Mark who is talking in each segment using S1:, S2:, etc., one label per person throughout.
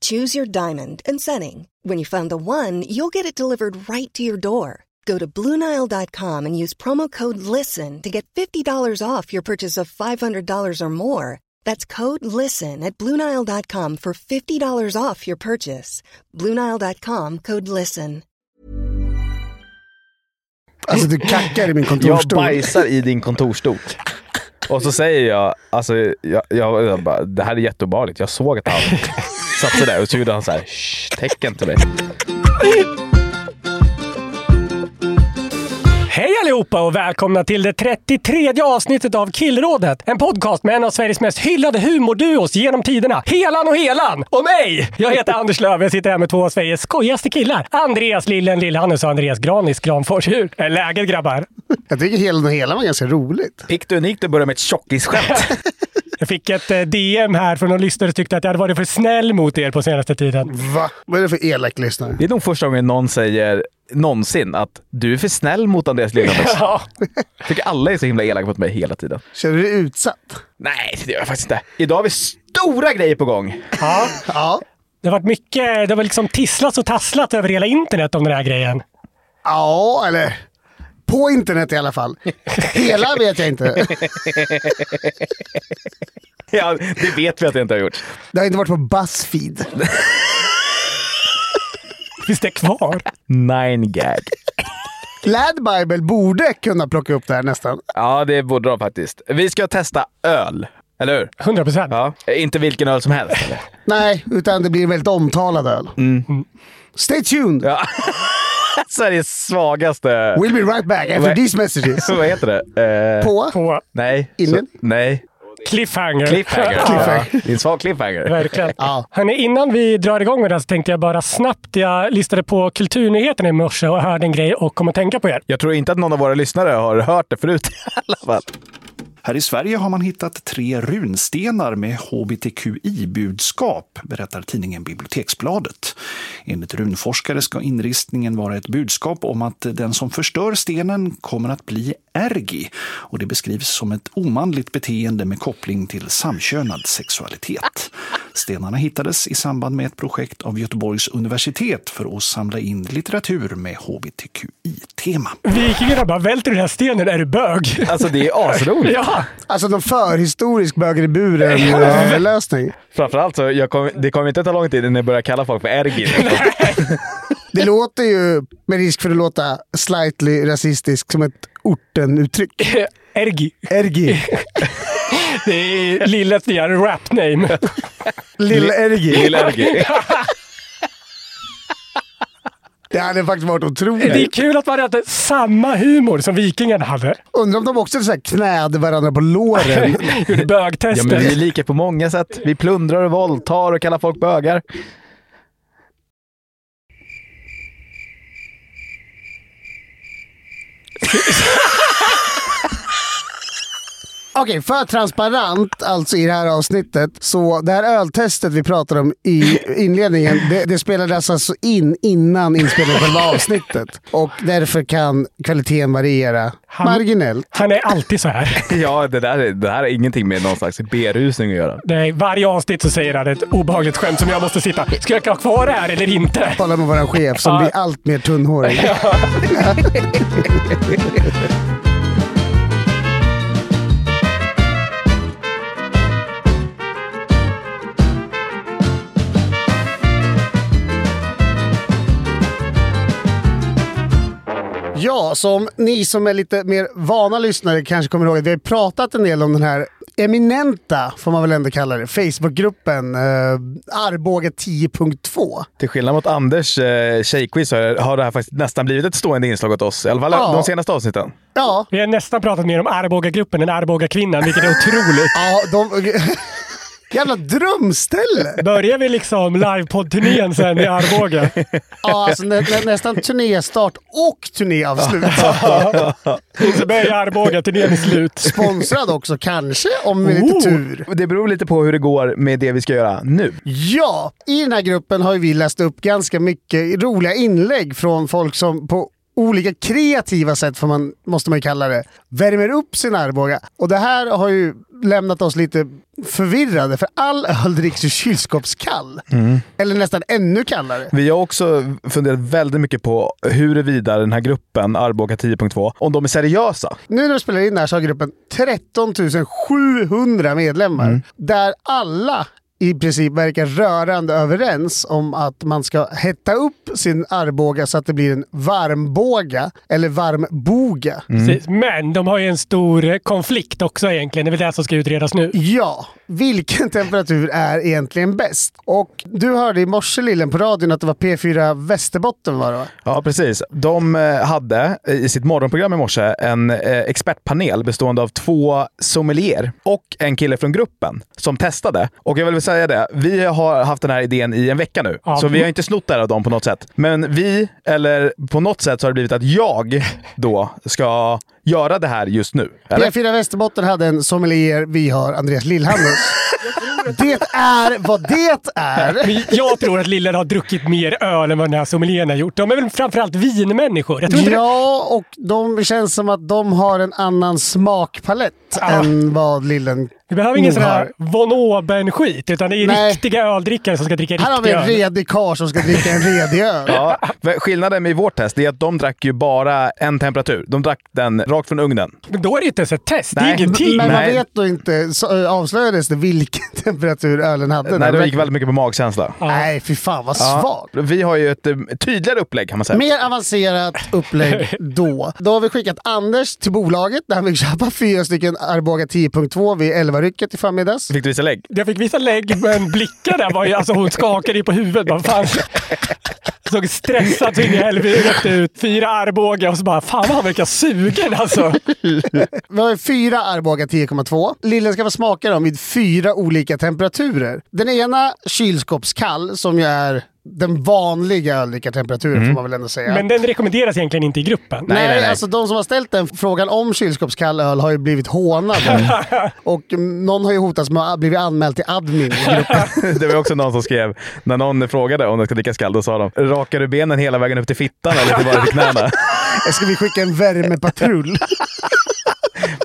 S1: Choose your diamond and setting. When you find the one, you'll get it delivered right to your door. Go to Bluenile.com and use promo code LISTEN to get $50 off your purchase of $500 or more. That's code LISTEN at Bluenile.com for $50 off your purchase. Bluenile.com code LISTEN.
S2: Alltså du kackar i min
S3: Jag
S2: kontorsstol.
S3: bajsar i din kontorsstol. Och så säger jag, alltså, jag, jag, jag bara, det här är jätteobehagligt. Jag såg att han satt sådär och så gjorde han så här, "Shh, tecken till mig.
S4: Hej allihopa och välkomna till det 33 avsnittet av Killrådet. En podcast med en av Sveriges mest hyllade humorduos genom tiderna. Helan och Helan! Och mig! Jag heter Anders Löf jag sitter här med två av Sveriges skojigaste killar. Andreas Lillen Lill-Hannes och Andreas Granis Granfors. Hur är läget grabbar?
S2: Jag tycker hela och hela var ganska roligt.
S3: Pikt och unikt att börja med ett tjockisskämt.
S4: Jag fick ett eh, DM här från någon lyssnare som tyckte att jag hade varit för snäll mot er på senaste tiden.
S2: Va? Vad är det för elak lyssnare?
S3: Det är nog första gången någon säger någonsin att du är för snäll mot Andreas Liljeroos.
S4: Ja,
S3: Jag tycker alla är så himla elaka mot mig hela tiden.
S2: Känner du dig utsatt?
S3: Nej, det gör jag faktiskt inte. Idag har vi stora grejer på gång.
S4: ja.
S2: Ja.
S4: Det har varit mycket, det har liksom tisslats och tasslats över hela internet om den här grejen.
S2: Ja, eller... På internet i alla fall. Hela vet jag inte.
S3: Ja, det vet vi att jag inte har gjort.
S2: Det har inte varit på Buzzfeed.
S4: Finns det kvar?
S3: Nine gag.
S2: Lad Bible borde kunna plocka upp det här nästan.
S3: Ja, det borde de faktiskt. Vi ska testa öl, eller hur?
S4: 100 procent.
S3: Ja. Inte vilken öl som helst. Eller?
S2: Nej, utan det blir en väldigt omtalad öl. Mm. Stay tuned!
S3: Ja. Sveriges svagaste...
S2: We'll be right back after
S3: Nej.
S2: these messages.
S3: Vad heter det? Eh,
S2: På...
S4: På
S3: Nej.
S2: Ingen?
S3: Så, nej.
S4: cliffhanger.
S3: Cliffhanger.
S2: Cliffhanger.
S3: Ja, det är en svag cliffhanger.
S4: Verkligen.
S2: Ja.
S4: Hörrni, innan vi drar igång med det här så tänkte jag bara snabbt, jag listade på kulturnyheterna i morse och hörde en grej och kom att tänka på er.
S3: Jag tror inte att någon av våra lyssnare har hört det förut i alla fall.
S5: Här i Sverige har man hittat tre runstenar med hbtqi-budskap, berättar tidningen Biblioteksbladet. Enligt runforskare ska inristningen vara ett budskap om att den som förstör stenen kommer att bli ärgi. Och det beskrivs som ett omanligt beteende med koppling till samkönad sexualitet. Stenarna hittades i samband med ett projekt av Göteborgs universitet för att samla in litteratur med hbtqi-tema.
S4: Vikingarna bara, välter du den här stenen är du bög?
S3: Alltså det är asroligt.
S4: Ja,
S2: Alltså någon förhistorisk bögen i buren-lösning.
S3: Framförallt så, jag kom, det kommer inte ta lång tid innan jag börjar kalla folk för ergin.
S2: Det låter ju, med risk för att låta slightly rasistisk, som ett orten-uttryck.
S4: Ergi.
S2: Ergi.
S4: Det är Lilles nya rap-name.
S2: Lilla Ergi.
S3: Lilla ergin.
S2: Det hade faktiskt varit
S4: Det är
S2: otroligt.
S4: kul att man hade samma humor som vikingarna hade.
S2: Undrar om de också så här knäde varandra på låren.
S4: Gjorde
S3: Ja, men
S4: bögtester.
S3: vi är lika på många sätt. Vi plundrar och våldtar och kallar folk bögar.
S2: Okej, för transparent alltså i det här avsnittet. Så det här öltestet vi pratade om i inledningen, det, det spelades alltså in innan inspelningen av själva avsnittet. Och därför kan kvaliteten variera
S4: Han-
S2: marginellt.
S4: Han är alltid så här.
S3: Ja, det där, är- det här är ingenting med någon slags berusning att göra.
S4: Det är varje avsnitt så säger han ett obehagligt skämt som jag måste sitta. Ska jag ha kvar det här eller inte?
S2: Tala med vår chef som
S4: Ja.
S2: blir allt mer tunnhårig. Ja, som ni som är lite mer vana lyssnare kanske kommer ihåg att vi har pratat en del om den här eminenta, får man väl ändå kalla det, Facebookgruppen eh, Arboga 10.2.
S3: Till skillnad mot Anders eh, tjejquiz så har- har det här faktiskt nästan blivit ett stående inslag åt oss. I alla fall
S2: Ja.
S3: de senaste avsnitten.
S2: Ja,
S4: Vi har nästan pratat mer om Arboga-gruppen än Arboga-kvinnan, vilket är otroligt.
S2: ja de, Jävla drömställe!
S4: Börjar vi liksom livepodd-turnén sen i Arboga?
S2: Ja, alltså, nä, nä, nästan turnéstart och turnéavslut.
S4: Så börjar Arboga-turnén är slut.
S2: Sponsrad också kanske, om med lite
S4: Oh.
S2: tur.
S3: Det beror lite på hur det går med det vi ska göra nu.
S2: Ja, i den här gruppen har ju vi läst upp ganska mycket roliga inlägg från folk som på olika kreativa sätt, får man, måste man ju kalla det, värmer upp sin Arboga. Och det här har ju lämnat oss lite förvirrade, för all öl dricks ju kylskåpskall. Eller nästan ännu kallare.
S3: Vi har också funderat väldigt mycket på huruvida den här gruppen, Arboga 10.2, om de är seriösa.
S2: Nu när vi spelar in det här så har gruppen 13 700 medlemmar. Där alla i princip verkar rörande överens om att man ska hetta upp sin armbåga så att det blir en varmbåga eller varmboga.
S4: Precis. Men de har ju en stor eh, konflikt också egentligen. Det är väl det som ska utredas nu.
S2: Ja, vilken temperatur är egentligen bäst? Och du hörde i morse Lillen på radion att det var P4 Västerbotten var det va?
S3: Ja, precis. De eh, hade eh, i sitt morgonprogram i morse en eh, expertpanel bestående av två sommelier och en kille från gruppen som testade. Och jag vill väl säga det, vi har haft den här idén i en vecka nu,
S4: Ja.
S3: så vi har inte snott det här av dem på något sätt. Men vi, eller på något sätt så har det blivit att jag då ska göra det här just nu. Eller?
S2: P4 Västerbotten hade en sommelier, vi har Andreas Lillhammer. det är vad det är.
S4: Men Jag tror att Lillen har druckit mer öl än vad den här sommelieren har gjort. De är väl framförallt vinmänniskor. Jag tror inte det.
S2: Ja, och de det känns som att de har en annan smakpalett
S4: Ah.
S2: än vad lillen
S4: Vi behöver
S2: nog
S4: ingen sån här
S2: har.
S4: von Oben-skit, utan det är
S2: Nej.
S4: riktiga öldrickare som ska dricka
S2: Här har vi
S4: riktig
S2: en
S4: öl.
S2: redig karl som ska dricka en redig öl.
S3: Ja, för skillnaden med vårt test är att de drack ju bara en temperatur. De drack den rakt från ugnen.
S4: Men då är det inte ens ett test.
S3: Nej,
S4: det är ingenting.
S2: Men man
S3: Nej.
S2: vet då inte, så eh, avslöjades det vilken temperatur ölen hade?
S3: Nej,
S2: när
S3: de
S2: den-
S3: gick väldigt mycket på magkänsla.
S2: Nej, fy fan vad
S3: Ja,
S2: svag.
S3: vi har ju ett eh, tydligare upplägg kan man säga.
S2: Mer avancerat upplägg då. Då har vi skickat Anders till bolaget där han fick köpa fyra stycken Arboga 10.2 vid 11-rycket i förmiddags.
S3: Fick du visa lägg?
S4: Jag fick vissa lägg, men blickar där var ju... Alltså hon skakade ju på huvudet. Bara, fan. Såg stressad så in i helvete ut. Fyra Arboga och så bara, fan vad han verkar sugen alltså.
S2: Vi har ju fyra Arboga 10,2. Lillen ska få smaka dem vid fyra olika temperaturer. Den ena kylskåpskall, som ju är den vanliga öldrickartemperaturen får man väl ändå säga.
S4: Men den rekommenderas egentligen inte i gruppen.
S2: Nej,
S3: nej, nej.
S2: alltså de som har ställt den frågan om kylskåpskall öl har ju blivit hånade. Och mm, någon har ju hotats med att bli anmäld till admin i gruppen.
S3: Det var också någon som skrev, när någon frågade om de ska dricka skall, då sa de “Rakar du benen hela vägen upp till fittan eller till bara till knäna?”
S2: Ska vi skicka en värmepatrull?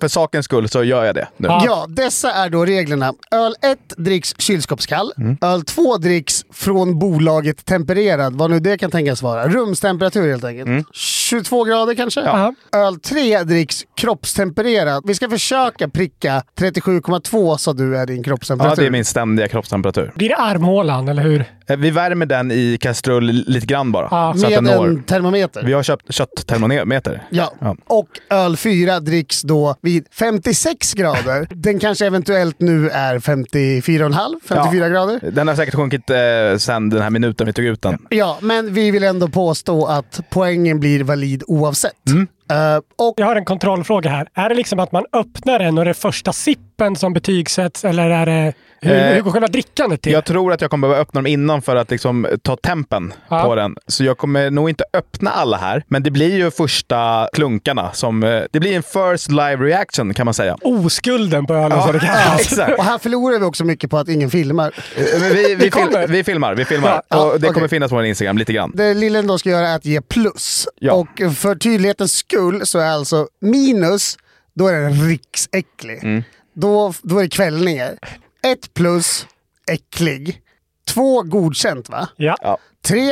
S3: För sakens skull så gör jag det nu.
S2: Ja, dessa är då reglerna. Öl 1 dricks kylskåpskall.
S3: Mm.
S2: Öl 2 dricks från bolaget tempererad, vad nu det kan tänkas vara. Rumstemperatur helt enkelt.
S3: Mm.
S2: 22 grader kanske?
S4: Ja.
S2: Öl 3 dricks kroppstempererad. Vi ska försöka pricka 37,2 sa du är din
S3: Ja,
S2: kroppstemperatur.
S3: det är min ständiga kroppstemperatur.
S4: Blir det armhålan, eller hur?
S3: Eh, Vi värmer den i kastrull lite grann bara,
S4: Ja.
S3: så att den
S2: Med
S3: når.
S2: en termometer.
S3: Vi har köpt kötttermometer.
S2: Ja.
S3: Ja.
S2: och öl 4 dricks då vid 56 grader. Den kanske eventuellt nu är 54,5, 54
S3: Ja.
S2: grader.
S3: Den har säkert sjunkit eh, sen den här minuten vi tog ut den.
S2: Ja, men vi vill ändå påstå att poängen blir valid oavsett.
S3: Mm.
S2: Eh, och
S4: Jag har en kontrollfråga här. Är det liksom att man öppnar den och det är första sippen som betygsätts eller är det... Hur,
S3: Eh,
S4: hur går själva drickandet till?
S3: Jag tror att jag kommer behöva öppna dem innan för att liksom ta tempen
S4: Ja.
S3: på den. Så jag kommer nog inte öppna alla här, men det blir ju första klunkarna. Som, eh, det blir en first live reaction kan man säga.
S4: Oskulden på ölen som det kallas.
S3: exakt.
S2: Och här förlorar vi också mycket på att ingen filmar.
S3: Eh, men Vi, vi, fil-
S4: kommer.
S3: vi filmar, vi filmar.
S2: Ja,
S3: och det
S2: okej.
S3: kommer finnas på vår Instagram lite grann.
S2: Det Lillen då ska göra är att ge plus.
S3: Ja.
S2: Och för tydlighetens skull så är alltså minus, då är den riksäcklig.
S3: Mm.
S2: Då, då är det kvällningar. Ett plus, äcklig. Två godkänt va?
S4: Ja.
S3: Ja.
S2: Tre,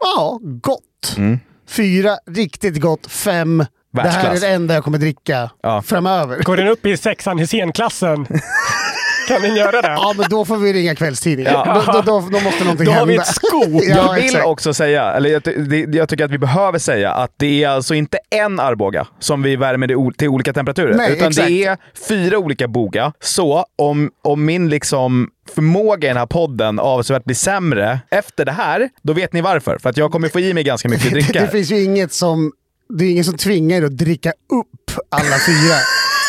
S2: ja, gott.
S3: Mm.
S2: Fyra, riktigt gott. Fem, det här är
S3: Världsklass.
S2: det enda jag kommer dricka
S3: Ja.
S2: framöver.
S4: Går den upp i sexan Hysénklassen? kan den göra det?
S2: Ja, men då får vi ringa kvällstidningen.
S3: Ja.
S2: Då, då, då, då måste någonting
S4: Då har
S2: hända.
S4: vi ett scoop.
S2: Ja,
S3: Jag vill
S2: exakt.
S3: också säga, eller jag, ty- det- jag tycker att vi behöver säga, att det är alltså inte en Arboga som vi värmer det o- till olika temperaturer.
S2: Nej,
S3: utan
S2: exakt.
S3: det är fyra olika boga. Så om, om min liksom förmåga i den här podden avsevärt blir sämre efter det här, då vet ni varför. För att jag kommer få i mig ganska mycket
S2: Det
S3: dricka.
S2: finns ju inget som... Det är ingen som tvingar er att dricka upp alla fyra.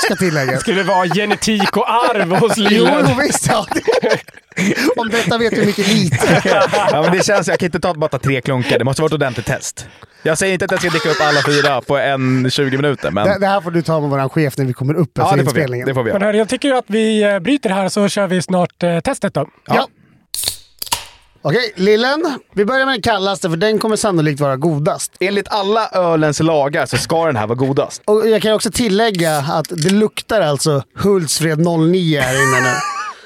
S2: ska tilläggas.
S4: Skulle vara genetik och arv hos
S2: Jo,
S4: lillen.
S2: jo, visst. Ja. Om detta vet vi mycket lite.
S3: Ja, men det känns, jag kan inte ta, bara ta tre klunkar. Det måste vara ett ordentligt test. Jag säger inte att jag ska dricka upp alla fyra på en 20 minuter, men...
S2: Det, det här får du ta med vår chef när vi kommer upp efter
S3: ja, det får, vi,
S2: inspelningen.
S3: det får vi
S4: Men
S3: göra.
S4: hörru, jag tycker ju att vi eh, bryter här så kör vi snart eh, testet då.
S2: Ja. Okej, lillen. Vi börjar med den kallaste för den kommer sannolikt vara godast.
S3: Enligt alla ölens lagar så ska den här vara godast.
S2: Och jag kan också tillägga att det luktar alltså Hultsfred 09 här inne nu.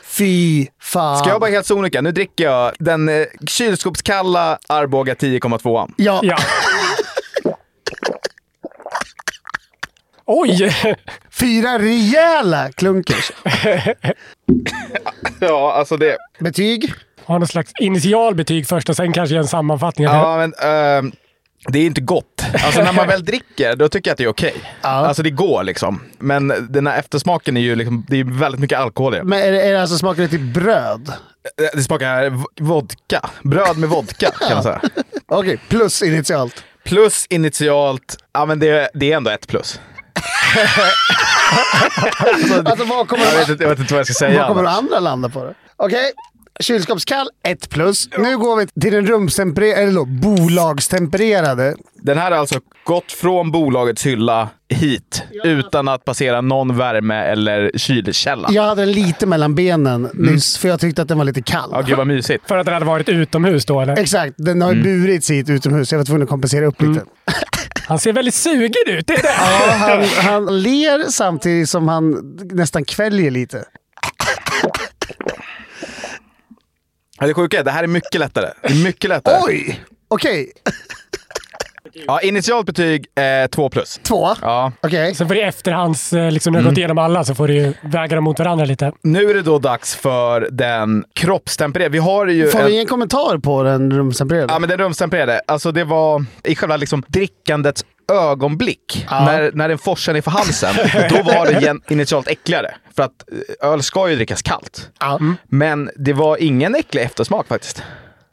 S2: Fy fan.
S3: Ska jag vara helt sonika? Nu dricker jag den eh, kylskåpskalla Arboga 10,2.
S2: Ja.
S4: Ja. Oj!
S2: Fyra rejäla klunkers.
S3: Ja, alltså det...
S2: Betyg?
S4: Har någon slags initialbetyg först och sen kanske gör en sammanfattning.
S3: Ja, men... ehm, det är inte gott. Alltså när man väl dricker, då tycker jag att det är okej. Alltså det går liksom. Men den här eftersmaken är ju liksom, det är väldigt mycket alkohol i den.
S2: Men är det, är det alltså smakar det till bröd?
S3: Eh, Det smakar v- vodka. Bröd med vodka kan man säga.
S2: Okej, plus initialt.
S3: Plus initialt, ja men det, det är ändå ett plus.
S2: Alltså vad kommer,
S3: Jag vet inte, jag vet inte vad jag ska säga.
S2: vad kommer de andra landa på? då? Okej, kylskåpskall 1 plus. Nu går vi till den rumstempererade, eller då, bolagstempererade.
S3: Den här har alltså gått från bolagets hylla hit utan att passera någon värme eller kylkälla.
S2: Jag hade den lite mellan benen nyss, för jag tyckte att den var lite kall.
S3: Mm. Ja, gud vad mysigt.
S4: För att den hade varit utomhus då eller?
S2: Exakt, den har ju
S3: Mm.
S2: burits hit utomhus. Jag var tvungen att kompensera upp lite.
S4: Han ser väldigt sugen ut. Det är det.
S2: Ja, han, han ler samtidigt som han nästan kväljer lite.
S3: Ja, Det sjuka är, det här är mycket lättare. Det är mycket lättare.
S2: Oj! Okej,
S3: Ja, initialt betyg eh, 2 plus.
S2: två.
S3: Ja.
S2: Okej.
S4: Sen får du i efterhands, eh, liksom, när du har gått igenom alla, så får du ju väga dem mot varandra lite.
S3: Nu är det då dags för den kroppstempererade. Vi har ju...
S2: Får
S3: en-
S2: vi ingen kommentar på den rumstempererade?
S3: Ja, men den rumstempererade. Alltså det var i själva liksom drickandets ögonblick. När, när den forsade för halsen, då var det gen- initialt äckligare. För att eh, öl ska ju drickas kallt.
S2: Ja.
S3: Men det var ingen äcklig eftersmak faktiskt.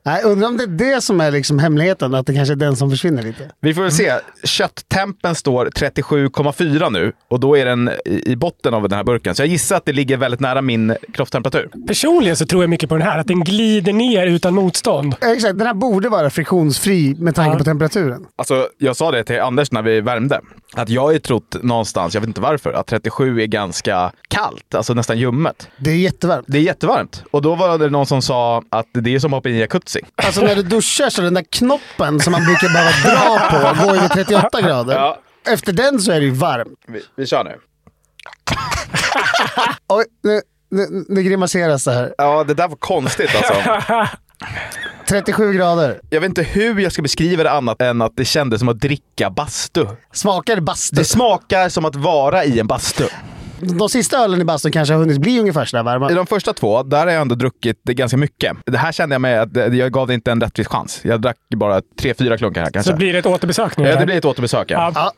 S2: Nej, undrar om det är det som är liksom hemligheten, att det kanske är den som försvinner lite.
S3: Vi får väl se. Kötttempen står 37,4 nu och då är den i i botten av den här burken. Så jag gissar att det ligger väldigt nära min kroppstemperatur.
S4: Personligen så tror jag mycket på den här, att den glider ner utan motstånd.
S2: Exakt, den här borde vara friktionsfri med tanke
S4: Ja.
S2: på temperaturen.
S3: Alltså, jag sa det till Anders när vi värmde. Att jag har ju trott någonstans, jag vet inte varför, att 37 är ganska kallt. Alltså nästan ljummet.
S2: Det är jättevarmt.
S3: Det är jättevarmt. Och då var det någon som sa att det är som att hoppa i en jacuzzi.
S2: Alltså när du duschar så den där knoppen som man brukar behöva dra på går över 38 grader.
S3: Ja.
S2: Efter den så är det ju varmt.
S3: Vi, vi kör nu.
S2: Oj, nu, nu, nu grimaseras det här.
S3: Ja, det där var konstigt alltså.
S2: 37 grader.
S3: Jag vet inte hur jag ska beskriva det annat än att det kändes som att dricka bastu.
S2: Smakar det bastu?
S3: Det smakar som att vara i en bastu.
S2: De sista ölen i bastun kanske har hunnit bli ungefär sådär varma.
S3: I de första två, där har jag ändå druckit det ganska mycket. Det här kände jag mig att det- jag gav det inte en rättvis chans. Jag drack bara tre, fyra klunkar här kanske.
S4: Så blir det ett återbesök
S3: Alltså.
S4: nu.
S3: Ja, det
S4: eller?
S3: blir ett återbesök. Ja.
S4: Ja.
S2: Ja.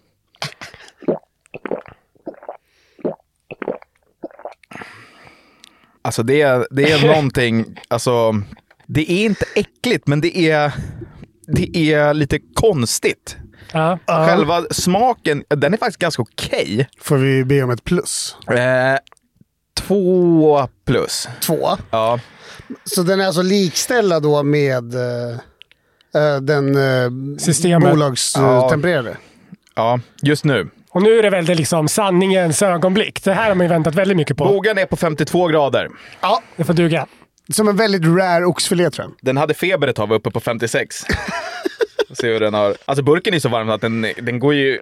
S3: Alltså det är, det är någonting, alltså det är inte äckligt men det är, det är lite konstigt.
S4: Ja.
S3: Själva smaken, den är faktiskt ganska okej.
S2: Får vi be om ett plus?
S3: Eh, två plus.
S2: Två.
S3: Ja.
S2: Så den är alltså likställd då med eh, eh, den eh,
S4: Systemet.
S3: Ja.
S2: bolagstempererade?
S3: ja, just nu.
S4: Och nu är det väldigt liksom sanningens ögonblick. Det här har man ju väntat väldigt mycket på.
S3: Bogan är på 52 grader.
S2: Ja.
S4: Det får duga.
S2: Som en väldigt rare oxfilé tror jag.
S3: Den hade feber ett tag, var uppe på 56. Får Se hur den har... Alltså burken är så varm att den, den går ju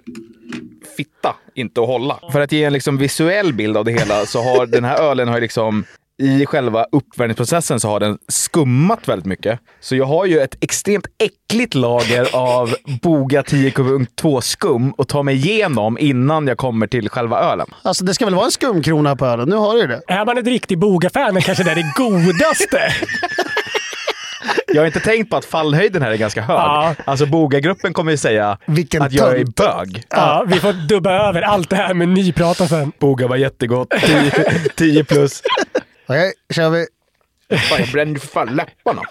S3: fitta inte att hålla. För att ge en liksom visuell bild av det hela så har den här ölen har ju liksom i själva uppvärmningsprocessen så har den skummat väldigt mycket. Så jag har ju ett extremt äckligt lager av Boga 10,2 skum att ta mig igenom innan jag kommer till själva ölen.
S2: Alltså det ska väl vara en skumkrona på ölen? Nu har du ju det.
S4: Är man ett riktigt Boga-fan är kanske det är det godaste.
S3: Jag har inte tänkt på att fallhöjden här är ganska hög.
S4: Ja.
S3: Alltså Boga-gruppen kommer ju säga
S2: Vilken
S3: att jag är
S2: tönt.
S3: bög.
S4: Ja, vi får dubba över allt det här med nyprata sen.
S3: Boga var jättegott. 10 plus.
S2: Okej, kör vi.
S3: Fan, jag brände för fan läpparna.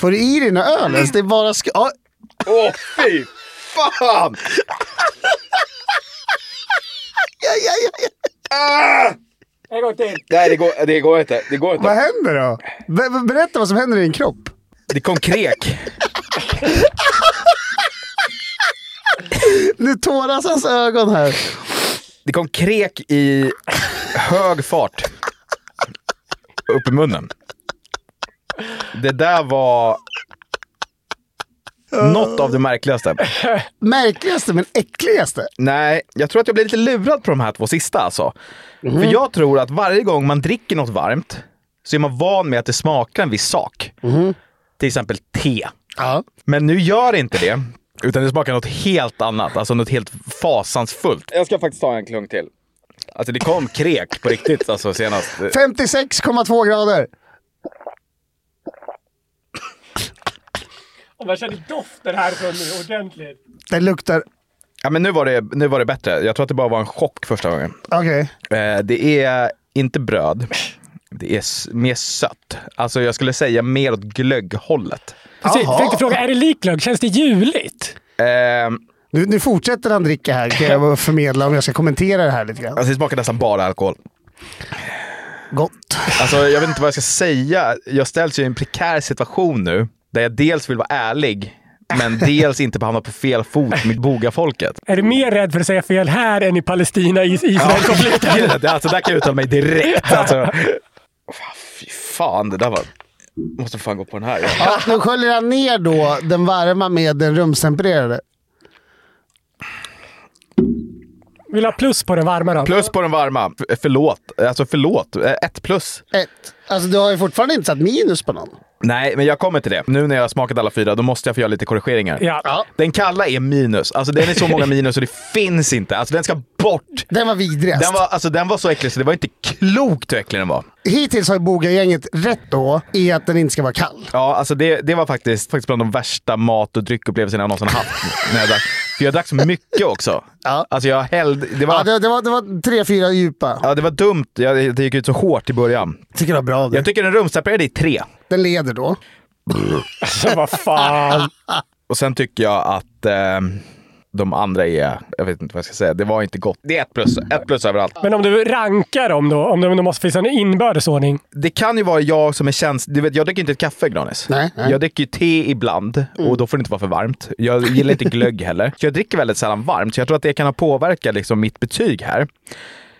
S2: Får du i dig några öl ens? Det är bara skum. Ja,
S3: Åh, fy fan!
S2: jag aj, aj, aj.
S4: En gång till.
S3: Nej, det går, det går inte. Det går
S2: Vad
S3: inte.
S2: händer då? Be- berätta vad som händer i din kropp.
S3: Det kom krek.
S2: Nu tåras hans ögon här.
S3: Det kom krek i hög fart. Upp i munnen. Det där var något av det märkligaste.
S2: Märkligaste men äckligaste.
S3: Nej, jag tror att jag blev lite lurad på de här två sista alltså. För jag tror att varje gång man dricker något varmt så är man van med att det smakar en viss sak. Till exempel te.
S2: Ja.
S3: Men nu gör det inte det. Utan det smakar något helt annat. Alltså något helt fasansfullt. Jag ska faktiskt ta en klunk till. Alltså det kom krek på riktigt alltså senast.
S2: 56,2 grader.
S4: Och man känner doften härifrån nu ordentligt.
S2: Det luktar...
S3: Ja, men nu var, det, nu var det bättre. Jag tror att det bara var en chock första gången.
S2: Okej.
S3: Eh, det är inte bröd. Det är s- mer sött. Alltså jag skulle säga mer åt glögghållet.
S4: Precis,
S2: Jaha.
S4: tänkte fråga, är det liklögg? Känns det juligt?
S3: Eh,
S2: Nu, nu fortsätter han dricka här kan jag bara förmedla om jag ska kommentera det här lite grann.
S3: alltså det smakar nästan bara alkohol.
S2: Gott.
S3: Alltså, jag vet inte vad jag ska säga. Jag ställs ju i en prekär situation nu, där jag dels vill vara ärlig, men dels inte hamna på fel fot med bogafolket.
S4: Är du mer rädd för att säga fel här än i Palestina, is- Israel-konflikten?
S3: Det- Alltså, där kan jag uttala mig direkt. Alltså. Fy fan, det där var... Måste fan gå på den här.
S2: Ja, nu sköljer han ner då den varma med den rumstempererade.
S4: Vill ha plus på den varma då?
S3: Plus på den varma. F- Förlåt. Alltså förlåt. Eh, Ett plus.
S2: Ett. Alltså du har ju fortfarande inte satt minus på någon.
S3: Nej, men jag kommer till det. Nu när jag har smakat alla fyra, då måste jag få göra lite korrigeringar.
S4: Ja.
S3: Den kalla är minus. Alltså den är så många minus så det finns inte. Alltså den ska bort.
S2: Den var vidrigast.
S3: Den var, alltså, den var så äcklig så det var inte klokt hur äcklig den var.
S2: Hittills har ju Boga-gänget rätt då i att den inte ska vara kall.
S3: Ja, alltså det, det var faktiskt, faktiskt bland de värsta mat och dryckupplevelserna jag någonsin haft. när jag drack. För jag drack så mycket också.
S2: Ja.
S3: Alltså jag hällde... Det var,
S2: Ja, det, det, var, det var tre, fyra djupa.
S3: ja, det var dumt. Jag, det gick ut så hårt i början.
S2: tycker det var bra.
S3: Jag tycker den rumstempererade är tre.
S2: Den leder då.
S4: Alltså vad fan.
S3: Och sen tycker jag att eh, de andra är... Jag vet inte vad jag ska säga. Det var inte gott. Det är ett plus. Ett plus överallt.
S4: Men om du rankar dem då? Om de, de måste finnas en inbördes ordning?
S3: Det kan ju vara jag som är känslig. Du vet, jag dricker inte ett kaffe, Granis.
S2: Nej, nej. Mm.
S3: Jag dricker ju te ibland och då får det inte vara för varmt. Jag gillar inte glögg heller. Så jag dricker väldigt sällan varmt, så jag tror att det kan ha påverkat liksom, mitt betyg här.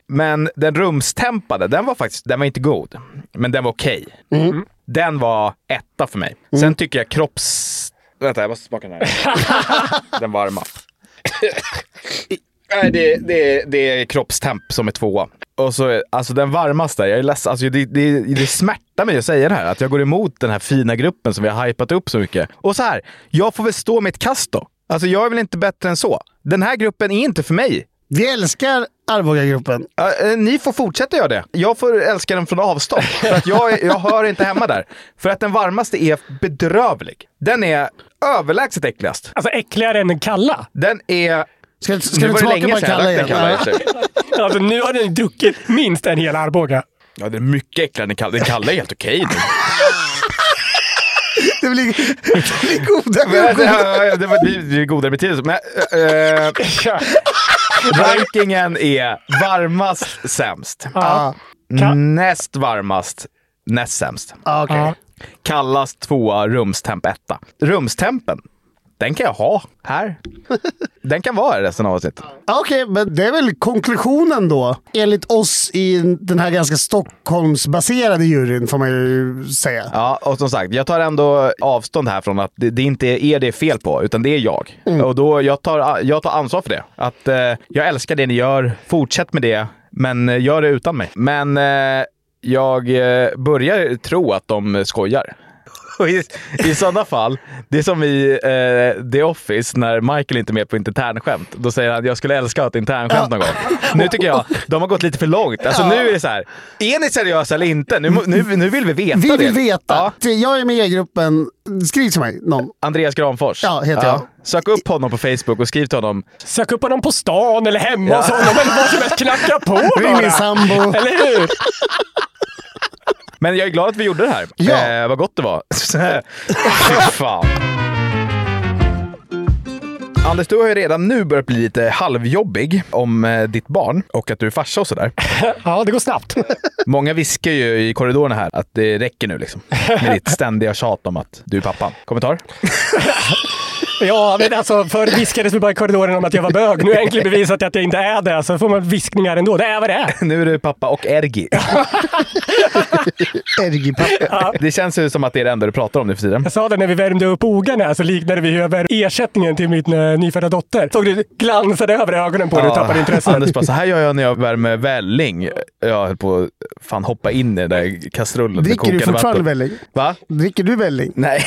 S3: Men den rumstempade, den var faktiskt den var inte god, men den var okej.
S2: Mm.
S3: Den var etta för mig. Sen tycker jag kropps... Vänta, jag måste smaka den här. den varma. Nej, det, det, det är kroppstemp som är tvåa. Och så, alltså den varmaste, jag är ledsen, alltså det, det, det smärtar mig att säga det här, att jag går emot den här fina gruppen som vi har hypat upp så mycket. Och så här, jag får väl stå mitt kast då. Alltså jag är väl inte bättre än så. Den här gruppen är inte för mig.
S2: Vi älskar Arboga-gruppen.
S3: Ja, eh, ni får fortsätta göra det. Jag får älska den från avstånd. För att jag, är- jag hör inte hemma där. För att den varmaste är bedrövlig. Den är överlägset äckligast.
S4: Alltså äckligare än den kalla?
S3: Den är...
S2: Ska,
S3: Nu
S2: ska du
S3: var det
S2: smaka
S3: länge
S2: på
S3: sedan jag
S2: kalla
S3: drack
S2: igen?
S3: den kalla i och för sig.
S4: Alltså nu har den druckit minst en hel Arboga.
S3: Ja, det är mycket äckligare än den kalla. Den kalla är helt okej nu.
S2: Det blir, det blir goda,
S3: Men,
S2: goda.
S3: ja, ja, det, var, det, det är godare med tiden. Men, eh, eh,
S4: Ja.
S3: rankingen är varmast sämst.
S4: Ja. Ka-
S3: Näst varmast, näst sämst.
S2: Ah, okej.
S4: Ja.
S3: Kallast tvåa, rumstemp etta. Rumstempen, den kan jag ha här. Den kan vara här resten av avsnittet.
S2: Ah, Okej, men det är väl konklusionen då. Enligt oss i den här ganska Stockholmsbaserade juryn får man ju säga.
S3: Ja, och som sagt, jag tar ändå avstånd här från att det, det inte är er det är fel på, utan det är jag.
S2: Mm.
S3: Och då, jag tar, jag tar ansvar för det. Att eh, jag älskar det ni gör, fortsätt med det, men eh, gör det utan mig. Men eh, jag eh, börjar tro att de skojar. Och I, I sådana fall, det är som i eh, The Office när Michael inte är med på ett internskämt. Då säger han jag skulle älska att ha ett internskämt någon gång. Nu tycker jag de har gått lite för långt. Alltså nu är det så här. är ni seriösa eller inte? Nu, må- nu, nu vill vi veta
S2: Vi
S3: det.
S2: vill veta.
S3: Ja.
S2: Jag är med i gruppen. Skriv till mig, någon.
S3: Andreas Granfors.
S2: Ja, heter jag.
S3: Sök upp honom på Facebook och skriv till honom.
S4: Sök upp honom på stan eller hemma hos honom eller vad som helst. Knacka på
S2: Ring min
S4: bara.
S2: sambo.
S4: Eller hur?
S3: Men jag är glad att vi gjorde det här.
S2: Ja.
S3: Eh, vad gott det var. Fy fan. Anders, du har ju redan nu börjat bli lite halvjobbig om eh, ditt barn och att du är farsa och sådär.
S4: Ja, det går snabbt.
S3: Många viskar ju i korridorerna här att det räcker nu liksom. Med ditt ständiga tjat om att du är pappan. Kommentar?
S4: Ja, men alltså förr viskades vi bara i korridoren om att jag var bög. Nu har jag äntligen bevisat att jag inte är det, så får man viskningar ändå. Det är vad det är.
S3: Nu är du pappa och ergi.
S2: Ergipappa.
S3: Det känns ju som att det är det enda du pratar om nu för tiden.
S4: Jag sa det när vi värmde upp ogarna här, så liknade vi ju över ersättningen till min eh, nyfödda dotter. Såg du glansade över ögonen på dig och tappade intresset.
S3: Anders bara, så här gör jag när jag värmer välling. Jag höll på att fan hoppa in i den där kastrullen med
S2: Dricker du
S3: kokande
S2: fortfarande
S3: vatten.
S2: välling?
S3: Va?
S2: Dricker du välling?
S3: Nej.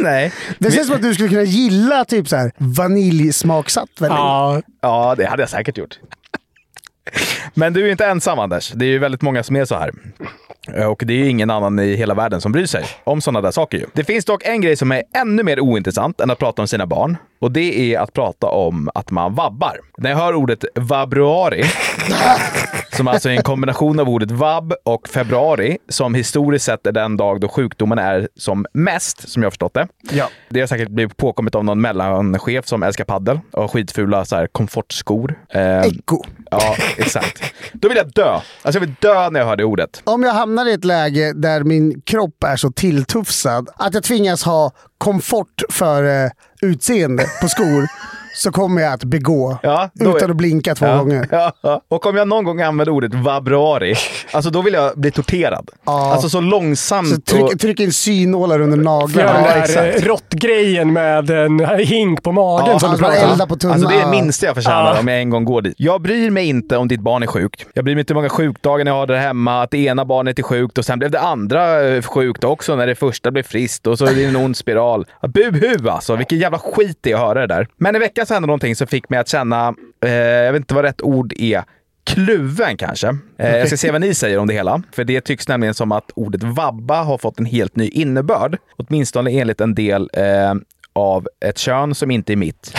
S3: Nej.
S2: Det känns som att du skulle kunna gilla typ så här vaniljsmaksatt välling.
S4: Ja,
S3: Ja, det hade jag säkert gjort. Men du är inte ensam Anders. Det är ju väldigt många som är så här. Och det är ju ingen annan i hela världen som bryr sig om sådana där saker ju. Det finns dock en grej som är ännu mer ointressant än att prata om sina barn. Och det är att prata om att man vabbar. När jag hör ordet vabruari, som alltså är en kombination av ordet vab och februari, som historiskt sett är den dag då sjukdomen är som mest, som jag har förstått det.
S2: Ja.
S3: Det har säkert blivit påkommet av någon mellanchef som älskar paddel och har skitfula så här, komfortskor. Eh,
S2: Eko.
S3: ja, exakt. Då vill jag dö. Alltså jag vill dö när jag hör det ordet.
S2: Om jag hamnar i ett läge där min kropp är så tilltufsad att jag tvingas ha komfort för eh, utseende på skor så kommer jag att begå
S3: Ja, då är-
S2: utan att blinka två
S3: Ja.
S2: gånger.
S3: Ja, ja. Och om jag någon gång använder ordet vabruari, alltså då vill jag bli torterad.
S2: Ja.
S3: Alltså så långsamt.
S2: Så tryck,
S3: och,
S2: tryck in synålar under
S4: gör
S2: naglarna.
S4: den
S3: Ja,
S4: där
S3: exakt.
S4: eh, råttgrejen med en hink på magen.
S3: Ja,
S4: som du
S2: alltså,
S4: pratar om.
S2: elda på tunnan.
S3: Alltså det är det minsta jag förtjänar
S4: Ja.
S3: om jag en gång går dit. Jag bryr mig inte om ditt barn är sjukt. Jag bryr mig inte hur många sjukdagar ni har där hemma, att det ena barnet är sjukt och sen blev det andra eh, sjukt också när det första blev friskt och så är det en ond spiral. Ja, Buhu alltså, vilken jävla skit det är att höra det där. Men i veckan så hände någonting som fick mig att känna, eh, jag vet inte vad rätt ord är, kluven kanske. Eh, jag ska se vad ni säger om det hela. För det tycks nämligen som att ordet vabba har fått en helt ny innebörd. Åtminstone enligt en del eh, av ett kön som inte är mitt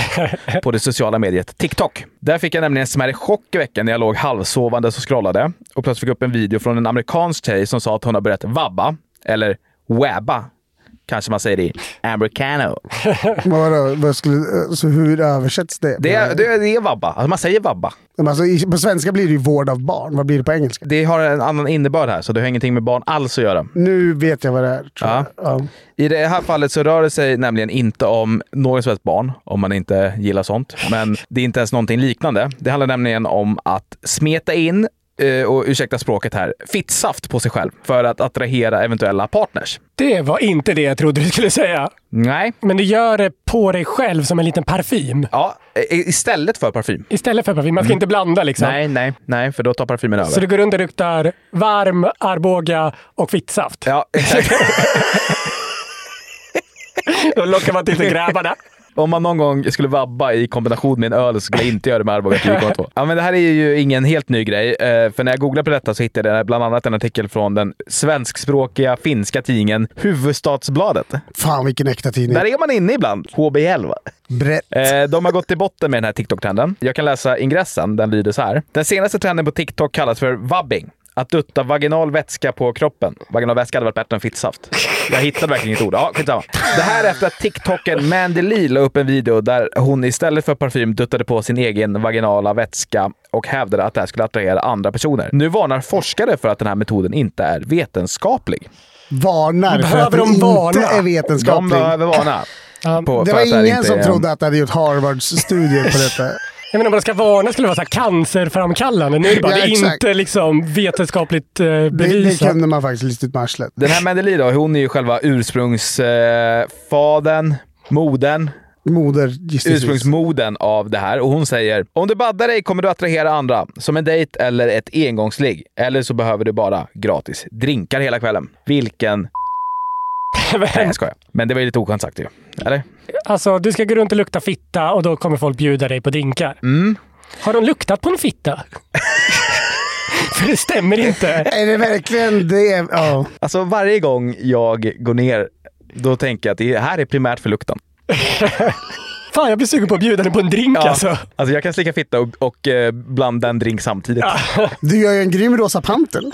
S3: på det sociala mediet TikTok. Där fick jag nämligen en smärre chock i veckan när jag låg halvsovande och scrollade och plötsligt fick upp en video från en amerikansk tjej som sa att hon har börjat vabba, eller wabba, kanske man säger det i americano.
S2: Men vadå, vad skulle, så hur översätts det?
S3: Det är, det, är- det är vabba, alltså man säger vabba.
S2: Men Alltså, i- på svenska blir det ju vård av barn. Vad blir det på engelska?
S3: Det har en annan innebörd här, så det har ingenting med barn alls att göra.
S2: Nu vet jag vad det är. Tror
S3: Ja.
S2: jag. Ja.
S3: I det här fallet så rör det sig nämligen inte om något som helst barn, om man inte gillar sånt. Men det är inte ens någonting liknande. Det handlar nämligen om att smeta in, eh, och ursäkta språket här, fittsaft på sig själv för att attrahera eventuella partners.
S4: Det var inte det jag trodde du skulle säga.
S3: Nej.
S4: Men du gör det på dig själv som en liten parfym.
S3: Ja, i- istället för parfym.
S4: Istället för parfym. Man
S2: Mm.
S4: ska inte blanda liksom.
S3: Nej, nej, nej, för då tar parfymen över.
S4: Så du går runt och luktar varm Arboga och fittsaft.
S3: Ja, exakt.
S4: Då lockar man till sig grävarna.
S3: Om man någon gång skulle vabba i kombination med en öl så skulle jag inte göra det med Arboga 10,2. Ja, men det här är ju ingen helt ny grej, eh, för när jag googlade på detta så hittade jag bland annat en artikel från den svenskspråkiga finska tidningen Huvudstadsbladet.
S2: Fan vilken äkta tidning.
S3: Där är man inne ibland. HBL va?
S2: Brett.
S3: Eh, de har gått till botten med den här TikTok-trenden. Jag kan läsa ingressen. Den lyder så här. Den senaste trenden på TikTok kallas för vabbing. Att dutta vaginal vätska på kroppen. Vaginal vätska hade varit bättre än fittsaft. Jag hittade verkligen inget ord. Ja, skitsamma. Det här är efter att TikToken Mandy Lee la upp en video där hon istället för parfym duttade på sin egen vaginala vätska och hävdade att det här skulle attrahera andra personer. Nu varnar forskare för att den här metoden inte är vetenskaplig.
S2: Varnar för att
S4: Behöver
S2: det
S4: de
S2: inte
S4: varna?
S2: är
S3: De
S2: vetenskaplig.
S3: behöver varna. på-
S2: Det
S3: för att
S2: var
S3: här
S2: ingen
S3: inte
S2: som
S3: är en-
S2: trodde att det hade gjort Harvard-studier på detta.
S4: Jag menar om man ska varna skulle det vara så här cancerframkallande. Nu är det bara,
S2: Ja,
S4: det är
S2: exakt.
S4: inte liksom vetenskapligt eh,
S2: Det, det
S4: bevisat.
S2: kunde man faktiskt listigt med arslet.
S3: Den här Mendeli då, hon är ju själva ursprungsfaden, moden,
S2: Moder, gissningsvis.
S3: ursprungsmoden av det här. Och hon säger “Om du baddar dig kommer du attrahera andra, som en dejt eller ett engångsligg. Eller så behöver du bara gratis drinkar hela kvällen.” Vilken... Nej, jag skojar. Men det var ju lite oskönt sagt ju. Eller?
S4: alltså, du ska gå runt och lukta fitta och då kommer folk bjuda dig på drinkar.
S2: Mm.
S4: Har de luktat på en fitta? För det stämmer inte.
S2: Är det verkligen det? Ja.
S3: Alltså varje gång jag går ner, då tänker jag att det här är primärt för lukten.
S4: Fan, jag blir sugen på att bjuda dig på en drink alltså.
S3: Alltså jag kan slicka fitta och, och eh, blanda en drink samtidigt.
S2: Du gör ju en grym Rosa Pantern.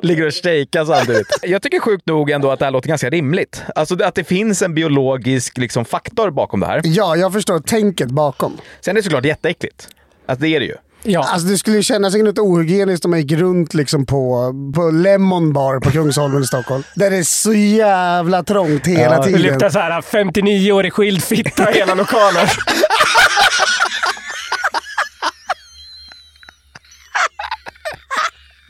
S3: ligger och shejkar samtidigt. Jag tycker sjukt nog ändå att det här låter ganska rimligt. Alltså det- att det finns en biologisk liksom, faktor bakom det här.
S2: Ja, jag förstår tänket bakom.
S3: Sen är det såklart jätteäckligt. Alltså det är det ju.
S4: Ja.
S2: Alltså det skulle ju kännas lite ohygieniskt om man gick runt liksom på, på Lemon Bar på Kungsholmen i Stockholm. Där det är så jävla trångt hela
S4: Det
S2: tiden.
S4: luktar så här 59-årig skild fitta i hela lokalen.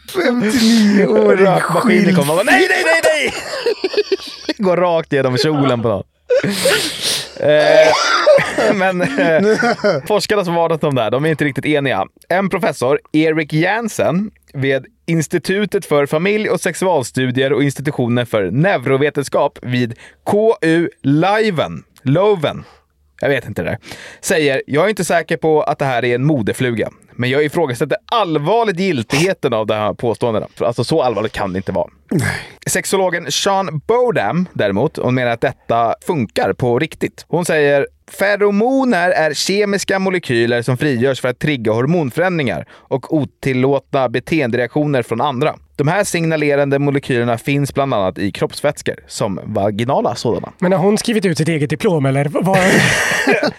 S3: Och
S2: 59-årig
S3: Rökmaskinen
S2: skild.
S3: kommer och bara, nej, nej, nej, nej! Går rakt genom kjolen på någon. Eh, Men eh, forskarna som varnat om det här, de är inte riktigt eniga. En professor, Erik Jansen, vid Institutet för familj och sexualstudier och institutionen för neurovetenskap vid KU Leuven, Leuven, jag vet inte det där, säger “Jag är inte säker på att det här är en modefluga, men jag ifrågasätter allvarligt giltigheten av de här påståendena. För Alltså så allvarligt kan det inte vara.” Sexologen Sean Bodam däremot, hon menar att detta funkar på riktigt. Hon säger Feromoner är kemiska molekyler som frigörs för att trigga hormonförändringar och otillåtna beteendereaktioner från andra. De här signalerande molekylerna finns bland annat i kroppsvätskor, som vaginala sådana.
S4: Men har hon skrivit ut sitt eget diplom eller? Var...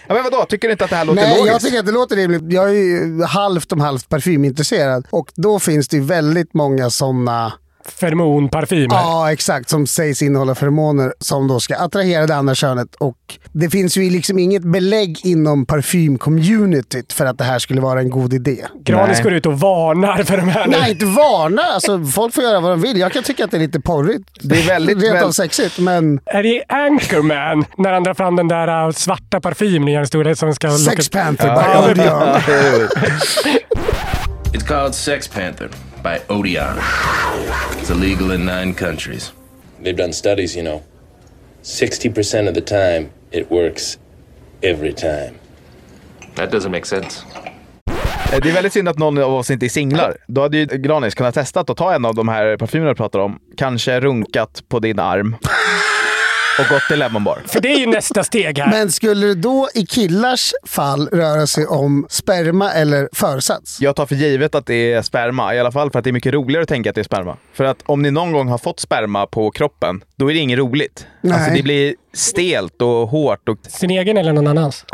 S3: Ja, men vadå, tycker du inte att det här låter
S2: Nej,
S3: logiskt?
S2: jag tycker att det låter rimligt. Jag är ju halvt om halvt parfymintresserad och då finns det ju väldigt många sådana
S4: Fermonparfymer.
S2: Ja, exakt. Som sägs innehålla feromoner som då ska attrahera det andra könet. Och det finns ju liksom inget belägg inom parfymcommunityt för att det här skulle vara en god idé.
S4: Granis
S3: Nej.
S4: går ut och varnar för de här nu.
S2: Nej, inte varna. Alltså, folk får göra vad de vill. Jag kan tycka att det är lite porrigt.
S3: Det är väldigt-
S2: Rent av
S3: väl-
S2: sexigt, men
S4: Är det Anchorman? När han drar fram den där äh, svarta parfymen i en stor som ska locka-
S2: Sex Panther
S4: Ja,
S2: by
S4: men-
S2: Odeon.
S6: It's called Sex Panther by Odeon. It's illegal in nine countries.
S7: They've done studies, you know. 60% of the time, it works every time.
S6: That doesn't make sense.
S3: Eh, Det är väldigt synd att någon av oss inte är singlar. Då hade ju Granis kunnat testa att ta en av de här parfymerna du pratar om. Kanske runkat på din arm. Och gått till Lemon Bar.
S4: För det är ju nästa steg här.
S2: Men skulle det då i killars fall röra sig om sperma eller försats?
S3: Jag tar för givet att det är sperma, i alla fall för att det är mycket roligare att tänka att det är sperma. För att om ni någon gång har fått sperma på kroppen, då är det inget roligt. Alltså
S2: Nej.
S3: det blir stelt och hårt. Och...
S4: Sin egen eller någon annans?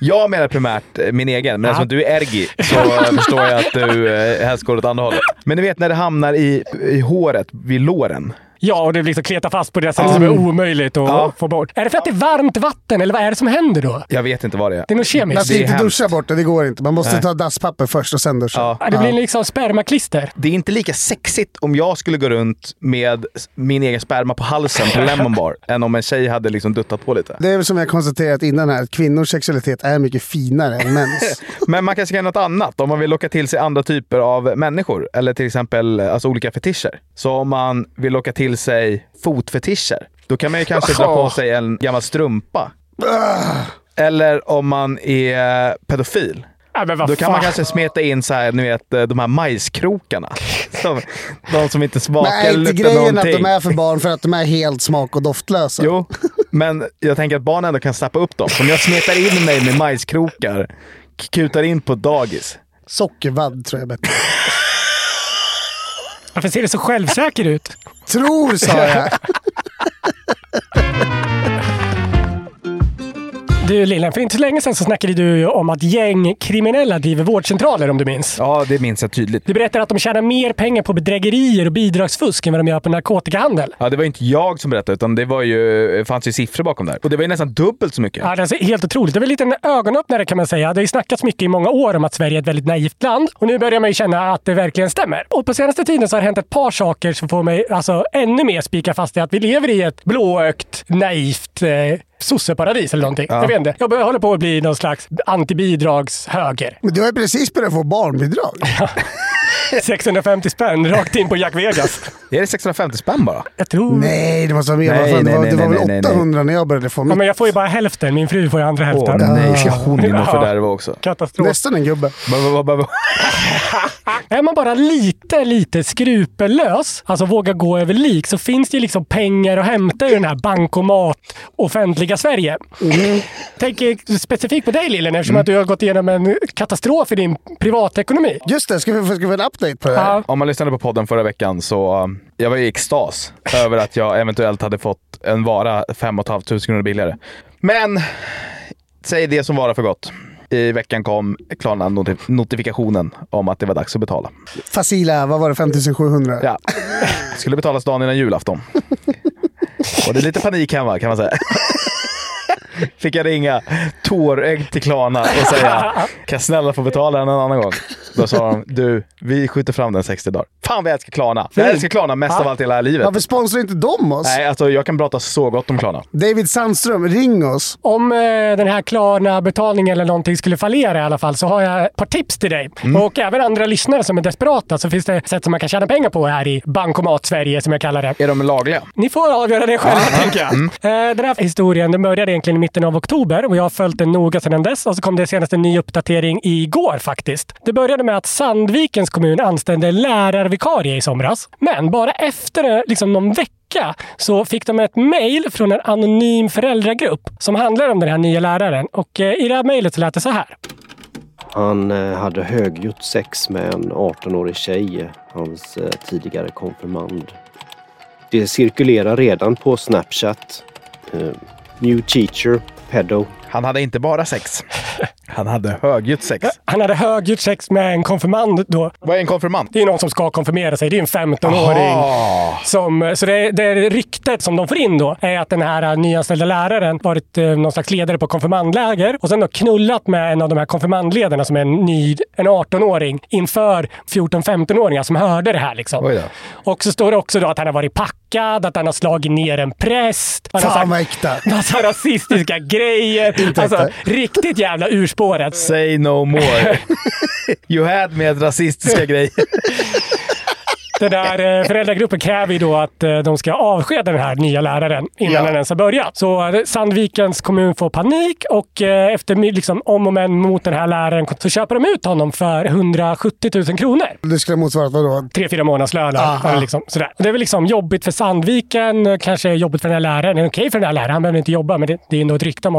S3: Jag menar primärt eh, min egen, men eftersom du är ergi så förstår jag att du eh, helst går åt andra hållet. Men ni vet när det hamnar i, i håret, vid låren.
S4: Ja, och det liksom kletar fast på det sättet som är omöjligt att
S3: Ja.
S4: få bort. Är det för att det är varmt vatten eller vad är det som händer då?
S3: Jag vet inte vad det är.
S4: Det är något kemiskt.
S2: Man ska
S3: Det är
S2: inte
S3: hemskt.
S2: duscha bort det, det går inte. Man måste ta dasspapper först och sen duscha.
S4: Ja, Det blir liksom spermaklister.
S3: det är inte lika sexigt om jag skulle gå runt med s- min egen sperma på halsen på Lemon Bar, än om en tjej hade liksom duttat på lite.
S2: Det är väl som jag konstaterat innan här, att kvinnors sexualitet är mycket finare än mäns.
S3: Men man kanske kan göra något annat om man vill locka till sig andra typer av människor. Eller till exempel alltså olika fetischer. Så om man vill locka till sig fotfetischer, då kan man ju kanske dra
S2: Ah.
S3: på sig en gammal strumpa. Eller om man är pedofil.
S4: Nej, men
S2: Ah,
S4: vad
S3: Då kan man
S4: fan.
S3: kanske smeta in så här, ni vet, eh, de här majskrokarna. Som, de som inte smakar
S2: Nej, inte
S3: luktar
S2: grejen
S3: någonting.
S2: att de är för barn för att de är helt smak och doftlösa.
S3: Jo, men jag tänker att barnen ändå kan snappa upp dem. Om jag smetar in mig med majskrokar, k- kutar in på ett dagis.
S2: Sockervadd tror jag är bättre.
S4: Varför ser det så självsäker ut?
S2: Tror sa jag.
S4: Du Lillen, för inte så länge sedan så snackade du ju om att gängkriminella driver vårdcentraler om du minns.
S3: Ja, det minns jag tydligt.
S4: Du berättar att de tjänar mer pengar på bedrägerier och bidragsfusk än vad de gör på narkotikahandel.
S3: Ja, det var ju inte jag som berättade, utan det var ju, det fanns ju siffror bakom där. Och det var ju nästan dubbelt så mycket.
S4: Ja, det är alltså helt otroligt. Det var en liten ögonöppnare kan man säga. Det har ju snackats mycket i många år om att Sverige är ett väldigt naivt land och nu börjar man ju känna att det verkligen stämmer. Och på senaste tiden så har det hänt ett par saker som får mig alltså, ännu mer spika fast i att vi lever i ett blåögt, naivt eh, sosseparadis eller någonting. Jag vet inte. Jag börjar- håller på att bli någon slags antibidragshöger.
S2: Men du har ju precis börjat få barnbidrag.
S4: 650 spänn rakt in på Jack Vegas.
S3: Är det 650 spänn bara?
S4: Jag tror...
S2: Nej, det måste vara mer.
S3: Nej,
S2: Vad fan, det
S3: nej,
S2: var,
S3: nej,
S2: det var
S3: nej,
S2: väl
S3: nej, nej.
S2: 800 när jag började få
S4: Ja,
S2: mitt.
S4: men jag får ju bara hälften. Min fru får ju andra
S3: Åh
S4: hälften.
S3: nej, ska hon in
S4: Ja.
S3: och fördärva också?
S4: Katastrof.
S2: Nästan en gubbe.
S3: Ba, ba, ba, ba.
S4: Är man bara lite, lite skrupellös, alltså vågar gå över lik, så finns det ju liksom pengar att hämta i den här bankomat offentliga Sverige.
S3: Mm.
S4: Tänker specifikt på dig Lillen eftersom att du har gått igenom en katastrof i din privatekonomi.
S2: Just det, ska vi, ska vi en update på det här.
S4: Ja.
S3: Om man lyssnade på podden förra veckan så um, jag var i extas över att jag eventuellt hade fått en vara 5 500 kronor billigare. Men säg det som vara för gott. I veckan kom Klarna-notifikationen om att det var dags att betala.
S2: Fasila, vad var det? 5700?
S3: Ja. Skulle betalas dagen innan julafton. Och det är lite panik hemma kan man säga. Fick jag ringa tårögd till Klarna och säga kan jag snälla få betala den en annan gång? Då sa de du, vi skjuter fram den 60 dagar. Fan vad jag älskar Klarna! Jag älskar Klarna mest av allt i hela här livet.
S2: Varför sponsrar inte de oss?
S3: Nej, alltså jag kan prata så gott om Klarna.
S2: David Sandström, ring oss.
S4: Om eh, den här Klarna-betalningen eller någonting skulle fallera i alla fall så har jag ett par tips till dig. Och även andra lyssnare som är desperata så finns det sätt som man kan tjäna pengar på här i Bankomat-Sverige som jag kallar det.
S3: Är de lagliga?
S4: Ni får avgöra det själva tänker jag. Eh, Den här historien den började egentligen i mitten av oktober och jag har följt den noga sedan dess och så kom det senast en ny uppdatering igår faktiskt. Det började med att Sandvikens kommun anställde en lärarvikarie i somras. Men bara efter eh, liksom, någon vecka så fick de ett mejl från en anonym föräldragrupp som handlar om den här nya läraren. Och eh, i det här mejlet så lät det så här.
S8: Han eh, hade högljutt sex med en 18-årig tjej, hans eh, tidigare konfirmand. Det cirkulerar redan på Snapchat. Eh, New teacher, pedo.
S3: Han hade inte bara sex. Han hade högljutt sex.
S4: Han hade högljutt sex med en konfirmand då.
S3: Vad är en konfirmand?
S4: Det är någon som ska konfirmera sig. Det är en 15-åring.
S3: Aha.
S4: Som, så det, det ryktet som de får in då är att den här nyanställda läraren varit eh, någon slags ledare på konfirmandläger och sen har knullat med en av de här konfirmandledarna som är en, ny, en 18-åring inför 14-15-åringar som hörde det här. Liksom.
S3: Oj då.
S4: Och så står det också då att han har varit packad, att han har slagit ner en präst. Han har
S2: Fan vad
S4: sagt
S2: äkta.
S4: massa rasistiska grejer. Alltså, riktigt jävla urspåret.
S3: Say no more. You had med rasistiska grejer.
S4: Den där eh, föräldragruppen kräver ju då att eh, de ska avskeda den här nya läraren innan
S3: Ja.
S4: den ens har börjat. Så eh, Sandvikens kommun får panik och eh, efter my- liksom, om och men mot den här läraren så köper de ut honom för 170 000 kronor.
S2: Det skulle ha motsvarat vadå?
S4: Tre, fyra månadslöner.
S2: Aha.
S4: Ja, Liksom, sådär. Och Det är väl liksom jobbigt för Sandviken, eh, kanske jobbigt för den här läraren. Det är okej för den här läraren, han behöver inte jobba, men det, det är ändå ett rykte om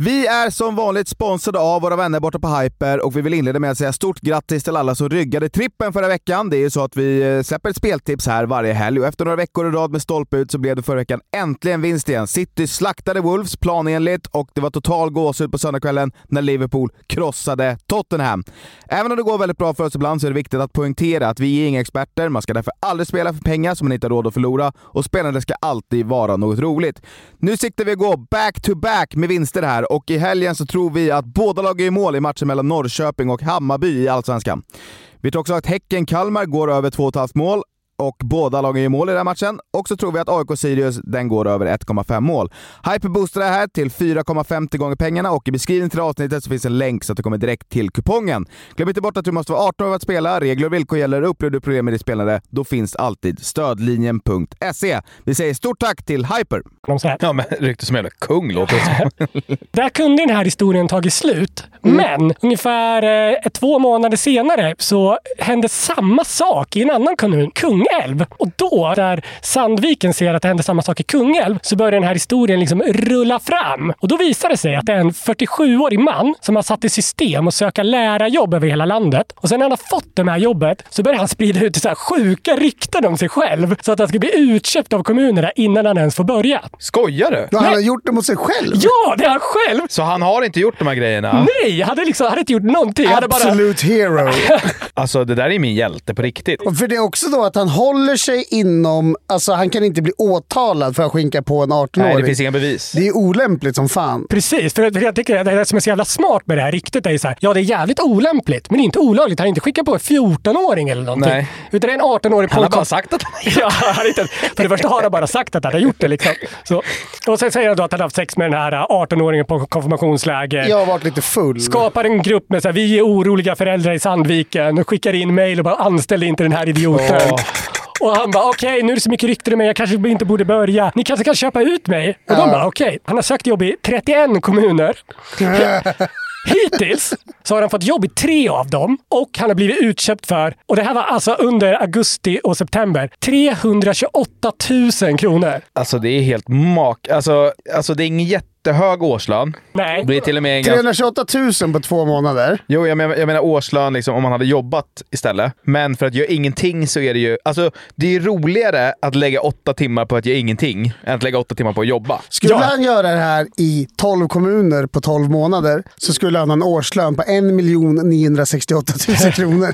S9: Vi är som vanligt sponsrade av våra vänner borta på Hyper och vi vill inleda med att säga stort grattis till alla som ryggade trippen förra veckan. Det är ju så att vi eh, släpper ett speltips här varje helg och efter några veckor i rad med stolpe ut så blev det förra veckan äntligen vinst igen. City slaktade Wolves planenligt och det var total gåshud på söndagskvällen när Liverpool krossade Tottenham. Även om det går väldigt bra för oss ibland så är det viktigt att poängtera att vi är inga experter. Man ska därför aldrig spela för pengar som man inte har råd att förlora och spelandet ska alltid vara något roligt. Nu siktar vi att gå back-to-back med vinster här och i helgen så tror vi att båda lag är i mål i matchen mellan Norrköping och Hammarby i Allsvenskan. Vi tror också att Häcken-Kalmar går över 2,5 mål och båda lagen gör mål i den här matchen. Och så tror vi att AIK-Sirius, den går över 1,5 mål. Hyper boostar det här till 4,50 gånger pengarna och i beskrivningen till det här avsnittet så finns en länk så att du kommer direkt till kupongen. Glöm inte bort att du måste vara 18 år för att spela. Regler och villkor gäller. Upplever du problem med ditt spelande, då finns alltid stödlinjen.se. E. Vi säger stort tack till Hyper!
S4: honom. Så här.
S3: Ja, men rykte som jävla kung låter det som.
S4: Där kunde den här historien tagit slut. Men ungefär eh, två månader senare så hände samma sak i en annan kommun, Kungälv. Kungälv. Och då, där Sandviken ser att det händer samma sak i Kungälv, så börjar den här historien liksom rulla fram. Och då visar det sig att det är en 47-årig man som har satt i system att söka lärarjobb över hela landet. Och sen när han har fått det här jobbet så börjar han sprida ut så här sjuka rykten om sig själv så att han ska bli utköpt av kommunerna innan han ens får börja.
S3: Skojar du?
S2: Han har gjort det mot sig själv?
S4: Ja, det är han själv!
S3: Så han har inte gjort de här grejerna?
S4: Nej, han hade, liksom, hade inte gjort någonting. Han hade bara...
S2: Absolute hero.
S3: Alltså det där är min hjälte på riktigt.
S2: Och för det är också då att han håller sig inom, alltså han kan inte bli åtalad för att skinka på en 18-åring.
S3: Nej, det finns inga bevis.
S2: Det är olämpligt som fan.
S4: Precis, för jag tycker att det som är så jävla smart med det här ryktet är ju så här, ja det är jävligt olämpligt, men det är inte olagligt. Han har inte skickat på en 14-åring eller någonting.
S3: Nej.
S4: Utan det är en 18-årig
S3: Han har
S4: pojke.
S3: bara sagt att
S4: Ja, han har inte, för det första har han bara sagt att han har gjort det. Liksom. Så. Och sen säger han då att han har haft sex med den här 18-åringen på konfirmationsläger.
S2: Jag har varit lite full.
S4: Skapar en grupp med så här, vi är oroliga föräldrar i Sandviken och skickar in mejl och bara anställ inte den här idioten.
S3: Åh.
S4: Och han bara, okej nu är det så mycket rykten om mig, jag kanske inte borde börja. Ni kanske kan köpa ut mig? Och de bara, okej. Han har sökt jobb i 31 kommuner. Hittills så har han fått jobb i tre av dem och han har blivit utköpt för, och det här var alltså under augusti och september, 328 000 kronor.
S3: Alltså det är helt mak... Alltså, alltså det är ingen jättehög årslön.
S4: Nej.
S3: Det är till och med en ganska...
S2: 328 000 på två månader.
S3: Jo, jag menar, jag menar årslön liksom, om man hade jobbat istället. Men för att göra ingenting så är det ju... Alltså, det är roligare att lägga åtta timmar på att göra ingenting än att lägga åtta timmar på att jobba.
S2: Skulle han göra det här i 12 kommuner på 12 månader så skulle han ha en årslön på 1 968 000 kronor.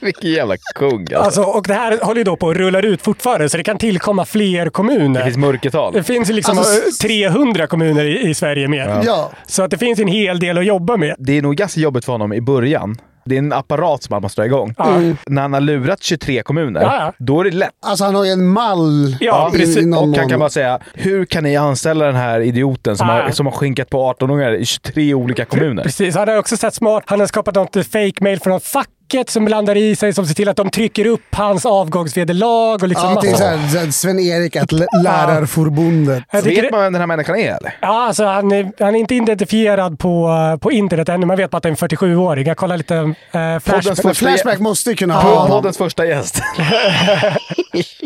S3: Vilken jävla kung alltså.
S4: Alltså, och det här håller ju då på att rulla ut fortfarande, så det kan tillkomma fler kommuner.
S3: Det finns
S4: Det
S3: mörkertal.
S4: finns ju liksom
S2: Alltså, s-
S4: 300 kommuner i, i Sverige mer.
S2: Ja.
S4: Så att det finns en hel del att jobba med.
S3: Det är nog ganska jobbigt för honom i början. Det är en apparat som han måste dra igång.
S4: Ja. Mm.
S3: När han har lurat 23 kommuner,
S4: Ja, ja.
S3: då är det lätt.
S2: Alltså han har ju en mall
S4: Ja,
S2: i, i
S4: precis.
S2: någon
S3: Och han kan
S2: månad.
S3: bara säga, hur kan ni anställa den här idioten som,
S4: Ah.
S3: har, som har skinkat på 18-åringar i 23 olika kommuner?
S4: Precis, han har också sett smart. Han har skapat något fake mail från facket som blandar i sig, som ser till att de trycker upp hans avgångsvederlag och liksom
S2: Ja, till
S4: massa...
S2: såhär- såhär Sven-Erik, att l- Lärarförbundet.
S4: Jag tycker
S3: Vet
S4: det,
S3: man vem den här människan är eller?
S4: ja, alltså, han, är, han är inte identifierad på, eh, på internet ännu. Man vet bara att det är en 47-åring. Jag kollar lite eh,
S3: Poddens
S4: flashback.
S2: Men
S3: första
S2: Flashback måste ju kunna ha
S3: Pod-
S2: honom.
S3: Poddens första gäst.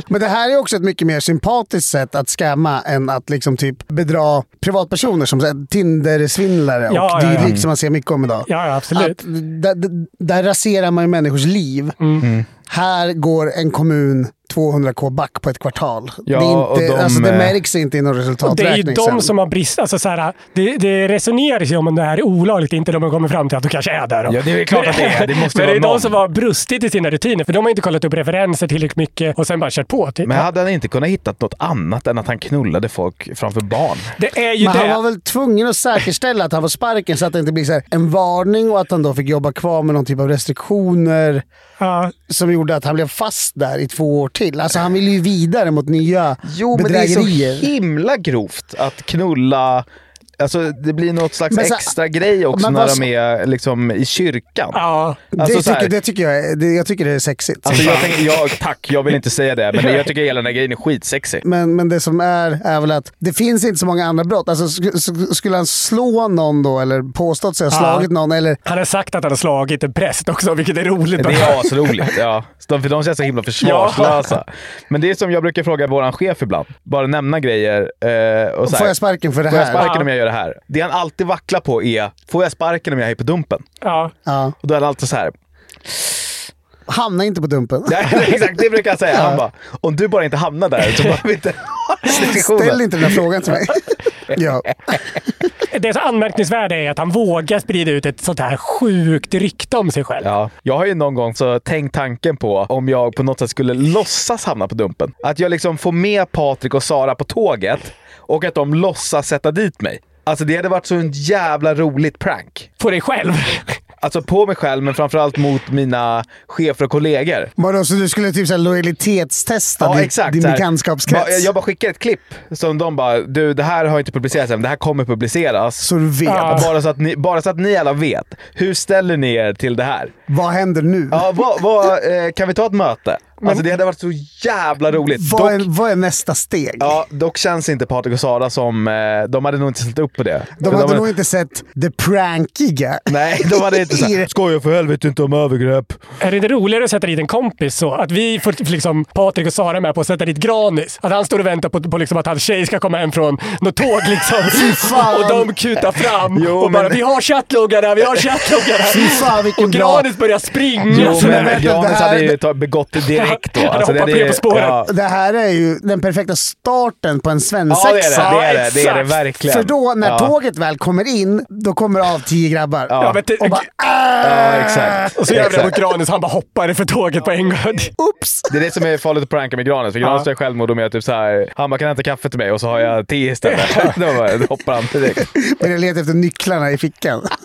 S2: Men det här är också ett mycket mer sympatiskt sätt att skämma än att liksom typ bedra privatpersoner som så här Tinder-svindlare
S4: Ja,
S2: och
S4: ja,
S2: dylikt
S4: ja.
S2: som man ser mycket om idag.
S4: Ja, ja, absolut.
S2: Att, där, där- där raserar man ju människors liv.
S4: Mm.
S2: Här går en kommun 200k back på ett kvartal.
S3: Ja,
S2: det, är inte,
S3: och de-
S2: alltså, det märks inte i någon
S4: Och det är
S2: resultaträkning
S4: ju de
S2: sen.
S4: som har brist. Alltså så här, det, det resoneras ju om det här är olagligt, inte de har kommit fram till att du kanske är där. då.
S3: Ja, det är klart att det är. Det måste
S4: Men
S3: vara
S4: det är de
S3: någon.
S4: som har brustit i sina rutiner, för de har inte kollat upp referenser tillräckligt mycket och sen bara kört på. Typ.
S3: Men hade han inte kunnat hitta något annat än att han knullade folk framför barn?
S4: Det är ju
S2: Men han
S4: det.
S2: var väl tvungen att säkerställa att han var sparken så att det inte blir så här en varning och att han då fick jobba kvar med någon typ av restriktioner
S4: Ja.
S2: som gjorde att han blev fast där i två år till. Alltså han ville ju vidare mot nya bedrägerier.
S3: det är så himla grovt att knulla... Alltså det blir något slags
S2: Men så-
S3: extra grej också
S2: Men
S3: när
S2: vad-
S3: de är liksom i kyrkan.
S4: Ja.
S3: Alltså,
S2: det,
S3: så här-
S2: tycker, det tycker jag, är- det, jag tycker det är sexigt.
S3: Alltså, jag tänker, jag, tack, jag vill inte säga det, men jag tycker hela den här grejen är skitsexig.
S2: Men, men det som är, är väl att det finns inte så många andra brott. Alltså, sk- sk- skulle han slå någon då eller påstått sig ha
S4: Ja.
S2: slagit någon? Eller,
S4: Han har sagt att han har slagit en präst också, vilket är roligt.
S3: Det är asroligt. Ja. Så De, för de känns så himla försvarslösa. Men det är som jag brukar fråga vår chef ibland. Bara nämna grejer. Eh, och så här,
S2: får jag sparken för det
S3: Får jag
S2: här?
S3: sparken
S4: Ja.
S3: om jag gör det här? Det han alltid vacklar på är, får jag sparken om jag är på dumpen?
S4: Ja.
S2: ja.
S3: Och då är han alltid så här.
S2: Hamna inte på dumpen.
S3: Nej, exakt, det brukar jag säga. Han bara, om du bara inte hamnar där så behöver vi inte ha den här
S2: Ställ
S3: diskussionen.
S2: inte den här frågan till mig. ja.
S4: Det som är anmärkningsvärda är att han vågar sprida ut ett sånt här sjukt rykte om sig själv.
S3: Ja, jag har ju någon gång så tänkt tanken på om jag på något sätt skulle låtsas hamna på Dumpen. Att jag liksom får med Patrik och Sara på tåget och att de låtsas sätta dit mig. Alltså det hade varit så en jävla roligt prank.
S4: På dig själv.
S3: Alltså på mig själv, men framförallt mot mina chefer och kollegor.
S2: Vadå, så du skulle typ så här lojalitetstesta
S3: Ja,
S2: din,
S3: exakt.
S2: din
S3: så här.
S2: bekantskapskrets?
S3: Ba- Jag bara skickar ett klipp som de bara, du det här har inte publicerats än, men det här kommer publiceras.
S2: Så du vet.
S4: Ja.
S3: Bara så, att ni, bara så att ni alla vet. Hur ställer ni er till det här?
S2: Vad händer nu?
S3: Ja, vad, vad, eh, kan vi ta ett möte? Alltså det hade varit så jävla roligt.
S2: Vad är, vad är nästa steg?
S3: Ja, dock känns inte Patrik och Sara som... Eh, de hade nog inte ställt upp på det.
S2: De hade nog inte sett det prankiga.
S3: Nej, de hade inte sagt “Skoja för helvete inte om övergrepp”.
S4: Är det inte roligare att sätta dit en kompis så? Att vi får liksom Patrik och Sara med på att sätta dit Granis. Att han står och väntar på, på liksom att hans tjej ska komma hem från något tåg liksom.
S2: fan.
S4: och de kutar fram
S2: Jo,
S4: och bara
S2: men-
S4: “Vi har chattloggar där, vi har chattloggar där”.
S2: Fy fan, vilken
S4: och
S2: bra-
S4: Granis börjar springa.
S3: Jo,
S2: Alltså,
S4: sådär.
S3: men Granis hade ju ta- begått det direkt då. Alltså, det
S4: Han hade hoppat
S3: hade
S4: med
S3: ju-
S4: på spåret.
S3: ja.
S2: Det här är ju den perfekta starten på en svensexa.
S3: Ja, det är det. Det är det, det, är det verkligen.
S2: För då, när
S3: ja.
S2: tåget väl kommer in, då kommer det av tio grabbar.
S3: Ja. Ja, men
S2: och bara "Äh!"
S3: Ja, exakt.
S4: Och så gör vi det mot
S3: Exakt.
S4: Granis han bara hoppar för tåget på en gång.
S2: Oops!
S3: Det är det som är farligt att pranka med Granis, för Granis
S4: Ja.
S3: gör självmord och jag typ såhär, han bara kan jag hämta kaffe till mig och så har jag te istället. då bara, då hoppar han direkt.
S2: Men jag letar efter nycklarna i fickan.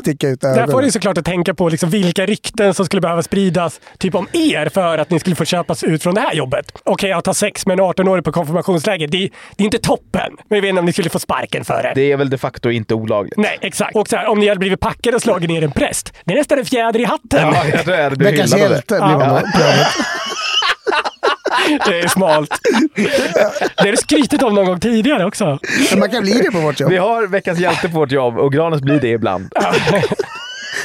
S2: Sticka ut
S4: Där får
S2: ögonen.
S4: ni såklart att tänka på liksom vilka rykten som skulle behöva spridas typ om er för att ni skulle få köpas ut från det här jobbet. Okej, att ha sex med en 18-årig på konfirmationsläger, det, det är inte toppen. Men jag vet inte om ni skulle få sparken för det.
S3: Det är väl de facto inte olagligt.
S4: Nej, exakt. Och så här, om ni hade blivit packade och slagit ner en präst, det är nästan en fjäder i hatten.
S3: Ja, jag tror jag hade blivit
S2: Veckans
S3: hyllad av det.
S2: hjälte blir man
S3: Ja.
S2: då.
S4: Det är smalt. Det har du skrytit om någon gång tidigare också.
S2: Men Man kan bli det på vårt jobb.
S3: Vi har veckans hjälte på vårt jobb och Granis blir det ibland.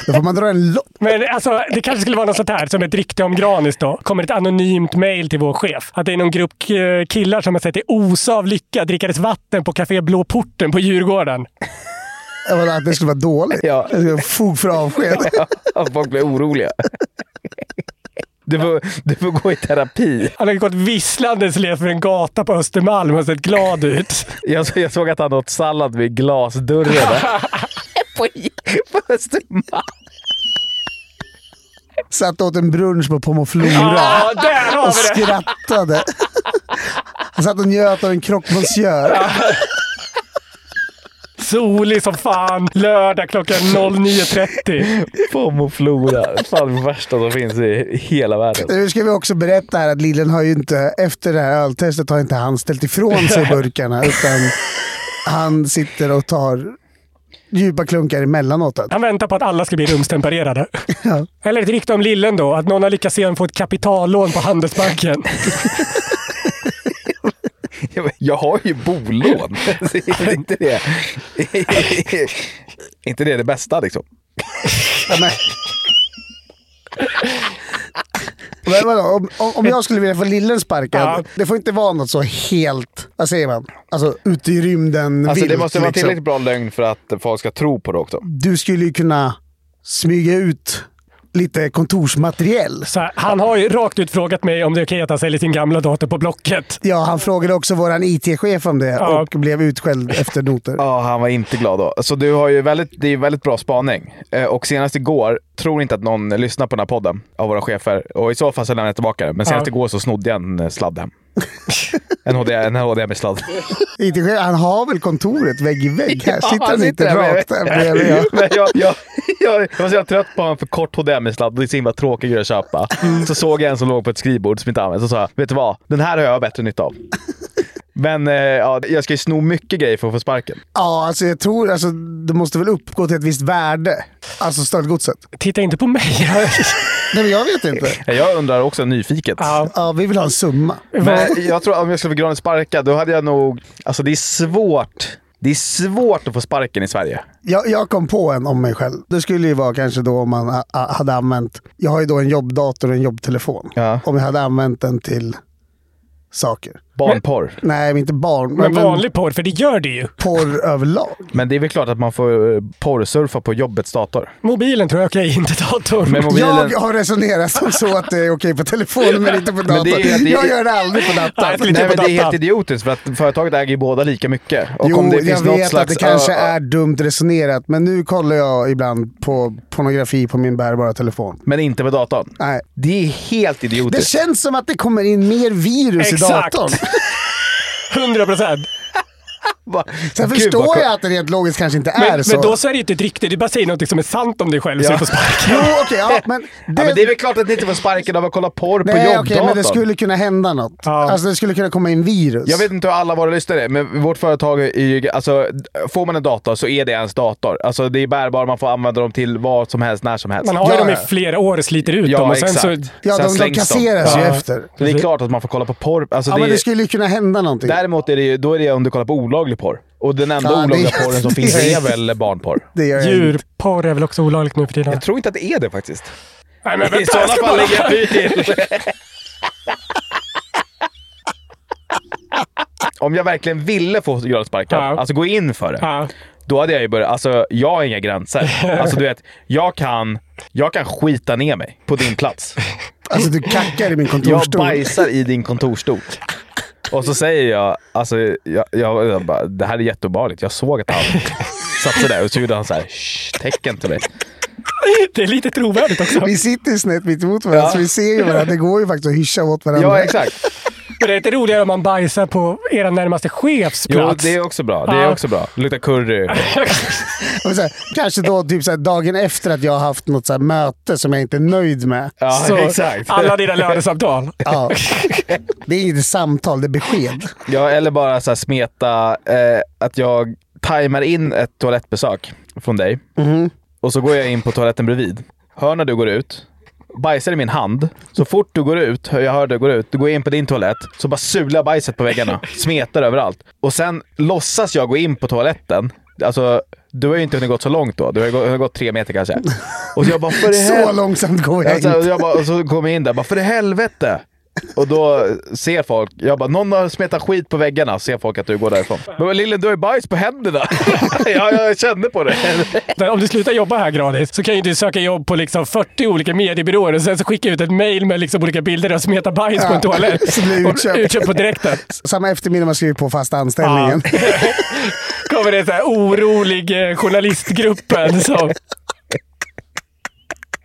S2: Då får man dra en lott.
S4: Men alltså, det kanske skulle vara något sånt här som ett rykte om Granis då. Kommer ett anonymt mail till vår chef. Att det är någon grupp eh, killar som har sett det osa av lycka drickades vatten på Café Blå Porten på Djurgården.
S2: Jag menar, Att det skulle vara dåligt.
S3: Ja.
S2: Det skulle vara fog för avsked.
S3: Att folk blir oroliga. Du får, du får gå i terapi.
S4: Han har gått visslandes längs med en gata på Östermalm och sett glad ut.
S3: Jag, så- jag såg att han åt sallad vid glasdörren. där. på Östermalm.
S2: Satt och åt en brunch på Pomoflora
S4: Ja, där har
S2: och
S4: vi det!
S2: skrattade. Han satt och njöt av en croque monsieur.
S4: Solig som fan. Lördag klockan 09.30.
S3: Pomoflora. Fan det värsta som finns i hela världen.
S2: Nu ska vi också berätta här att Lillen har ju inte, efter det här öltestet har inte han ställt ifrån sig burkarna utan han sitter och tar djupa klunkar emellanåt.
S4: Han väntar på att alla ska bli rumstempererade.
S2: Ja.
S4: Eller ett rykte om Lillen då, att någon har lyckats se honom få ett kapitallån på Handelsbanken.
S3: Jag har ju bolån. Så är inte det inte det, det bästa liksom?
S2: Ja, men... Men vadå, om, om- om jag skulle vilja få Lillen sparkad,
S4: Ja.
S2: det får inte vara något så helt, vad säger man, alltså ute i rymden
S3: Alltså, det
S2: vilt,
S3: måste vara
S2: liksom.
S3: tillräckligt bra lögn för att folk ska tro på det också.
S2: Du skulle ju kunna smyga ut lite kontorsmateriell.
S4: Så här, han har ju rakt ut frågat mig om det är okej att han säljer sin gamla dator på Blocket.
S2: Ja, han frågade också vår IT-chef om det
S4: Ja.
S2: och blev utskälld efter noter.
S3: Ja, han var inte glad då. Så du har ju väldigt, det är ju väldigt bra spaning. Eh, Och senast igår, tror inte att någon lyssnar på den här podden av våra chefer. Och i så fall så lämnar jag tillbaka den. Men senast
S4: Ja.
S3: igår så snodde jag en eh, sladd hem. En HDMI-sladd. En HDMI -sladd.
S2: IT-chef, han har väl kontoret vägg i vägg här? sitter han inte
S3: där
S2: rakt där bredvid? Ja.
S3: Men jag, jag, jag, jag var så jävla trött på en för kort HDMI-sladd. Det är så himla tråkig grej att köpa.
S2: Mm.
S3: Så såg jag en som låg på ett skrivbord som inte används och sa jag, vet du vad? Den här har jag bättre nytta av. Men eh, ja, jag ska ju sno mycket grejer för att få sparken.
S2: ja, alltså jag tror alltså, det måste väl uppgå till ett visst värde. Alltså stöldgodset.
S4: Titta inte på mig.
S2: Nej, men jag vet inte.
S3: Eh, Jag undrar också nyfiket.
S4: ja.
S2: Ja, vi vill ha en summa.
S3: Men jag tror att om jag skulle få Granis sparkad, då hade jag nog... Alltså det är svårt. Det är svårt att få sparken i Sverige.
S2: Jag, jag kom på en om mig själv. Det skulle ju vara kanske då om man ha- ha- hade använt... Jag har ju då en jobbdator och en jobbtelefon.
S3: Ja.
S2: Om jag hade använt den till saker.
S3: Barnporr.
S2: Nej, men inte barn.
S4: Men vanlig porr, för det gör det ju.
S2: porr överlag.
S3: Men det är väl klart att man får eh, porrsurfa på jobbets dator.
S4: Mobilen tror jag är okej, inte datorn.
S3: Med mobilen.
S2: Jag har resonerat som så att det är okej på telefonen men inte på
S3: Men
S2: datorn.
S3: det är- det är-
S2: Jag gör det aldrig på
S4: Nej,
S2: datorn.
S4: jag skulle inte
S3: Nej, men
S4: på
S3: det är helt
S4: datan.
S3: idiotiskt för att företaget äger ju båda lika mycket. Och
S2: Jo,
S3: om det finns
S2: jag
S3: något
S2: vet
S3: slags,
S2: att det kanske
S3: ja, ja.
S2: är dumt resonerat, men nu kollar jag ibland på pornografi på min bärbara telefon.
S3: Men inte på datorn.
S2: Nej.
S3: Det är helt
S2: Det
S3: idiotiskt.
S2: känns som att det kommer in mer virus i
S4: Exakt.
S2: datorn.
S4: 100 procent.
S3: bara,
S2: Sen
S3: Gud,
S2: förstår
S3: vad
S2: jag att det rent logiskt kanske inte är
S4: Men,
S2: så.
S4: men då så är det ju inte ett rykte, du bara säger något som är sant om dig själv så
S3: Ja.
S4: du får sparken.
S2: Jo, okej, ja, men
S3: Ja, men det är väl klart att ni inte får sparken av att kolla porr på
S2: Nej, okej,
S3: jobbdatorn.
S2: men det skulle kunna hända något. Alltså det skulle kunna komma in virus.
S3: Jag vet inte hur alla våra lyssnare är, men vårt företag är ju... Alltså, får man en dator så är det ens dator. Alltså, det är bärbar, man får använda dem till vad som helst, när som helst.
S4: Man har ju dem i flera år och sliter ut
S3: Ja,
S4: dem och sen
S3: exakt.
S4: så...
S2: Ja, de- de
S3: slängs
S2: kasseras ju efter.
S3: Det är klart att man får kolla på porr. Alltså,
S2: ja,
S3: det
S2: men
S3: är,
S2: det skulle ju kunna hända någonting.
S3: Däremot är det ju, då är det om du kollar på olaglig porr. Och den enda
S2: Ja, det-
S3: olagliga porren som
S2: det-
S3: finns är väl barnporr?
S2: Det gör jag inte.
S4: Djurporr är väl också olagligt nu för tiden?
S3: Jag tror inte att det är det faktiskt.
S4: Nej, men
S3: I
S4: vänta,
S3: sådana
S4: jag ska
S3: fall
S4: bara-
S3: ligger jag pyrt till. Om jag verkligen ville få gradsparkad,
S4: Ja.
S3: alltså gå in för det.
S4: Ja.
S3: Då hade jag ju börjat, alltså jag har inga gränser. Alltså du vet, jag kan, jag kan skita ner mig på din plats.
S2: Alltså du kackar i min
S3: Jag
S2: kontorsstol.
S3: bajsar i din kontorsstol. Och så säger jag, alltså jag, jag, jag bara, det här är jätteobehagligt. Jag såg att han satt sådär och så gjorde han såhär, "Shh, tecken till mig.
S4: Det är lite trovärdigt också.
S2: Vi sitter ju snett mitt emot varandra,
S3: Ja.
S2: så vi ser ju varandra. Det går ju faktiskt att hyscha åt varandra.
S3: Ja, exakt.
S4: Men det är inte roligare om man bajsar på era närmaste chefs
S3: Jo,
S4: plats.
S3: det är också bra. Det är
S4: Ja.
S3: också bra. Det luktar curry.
S2: Och så här, kanske då typ så här, dagen efter att jag har haft något så här, möte som jag inte är nöjd med.
S3: Ja,
S4: Så
S3: exakt.
S4: alla dina lönesamtal.
S2: Ja. Det är inget samtal, det är besked.
S3: Ja, eller bara så här smeta eh, att jag tajmar in ett toalettbesök från dig. Och så går jag in på toaletten bredvid. Hör när du går ut. Bajsar i min hand. Så fort du går ut, hör- jag hör du går ut, du går in på din toalett, så bara sular bajset på väggarna. Smetar överallt. Och sen låtsas jag gå in på toaletten. Alltså, du har ju inte hunnit gått så långt då. Du har ju gå- gått tre meter kanske. Och jag bara, för i
S2: Så
S3: hel-
S2: långsamt går jag
S3: Ja, så,
S2: inte.
S3: och jag bara, och så kom jag in där bara, för i helvete! Och då eh, ser folk, jag bara, någon har smetat skit på väggarna, ser folk att du går därifrån. Men lillen, du har ju bajs på händerna! ja, jag kände på det.
S4: Men Om du slutar jobba här gratis så kan ju du söka jobb på liksom 40 olika mediebyråer och sen så skicka ut ett mail med liksom olika bilder och smeta bajs på en toalett.
S2: Så blir jag
S4: Och
S2: utköpt.
S4: Utköpt på direkten.
S2: Samma eftermiddag man skriver på fasta anställningen.
S4: kommer det så här orolig eh, journalistgruppen som...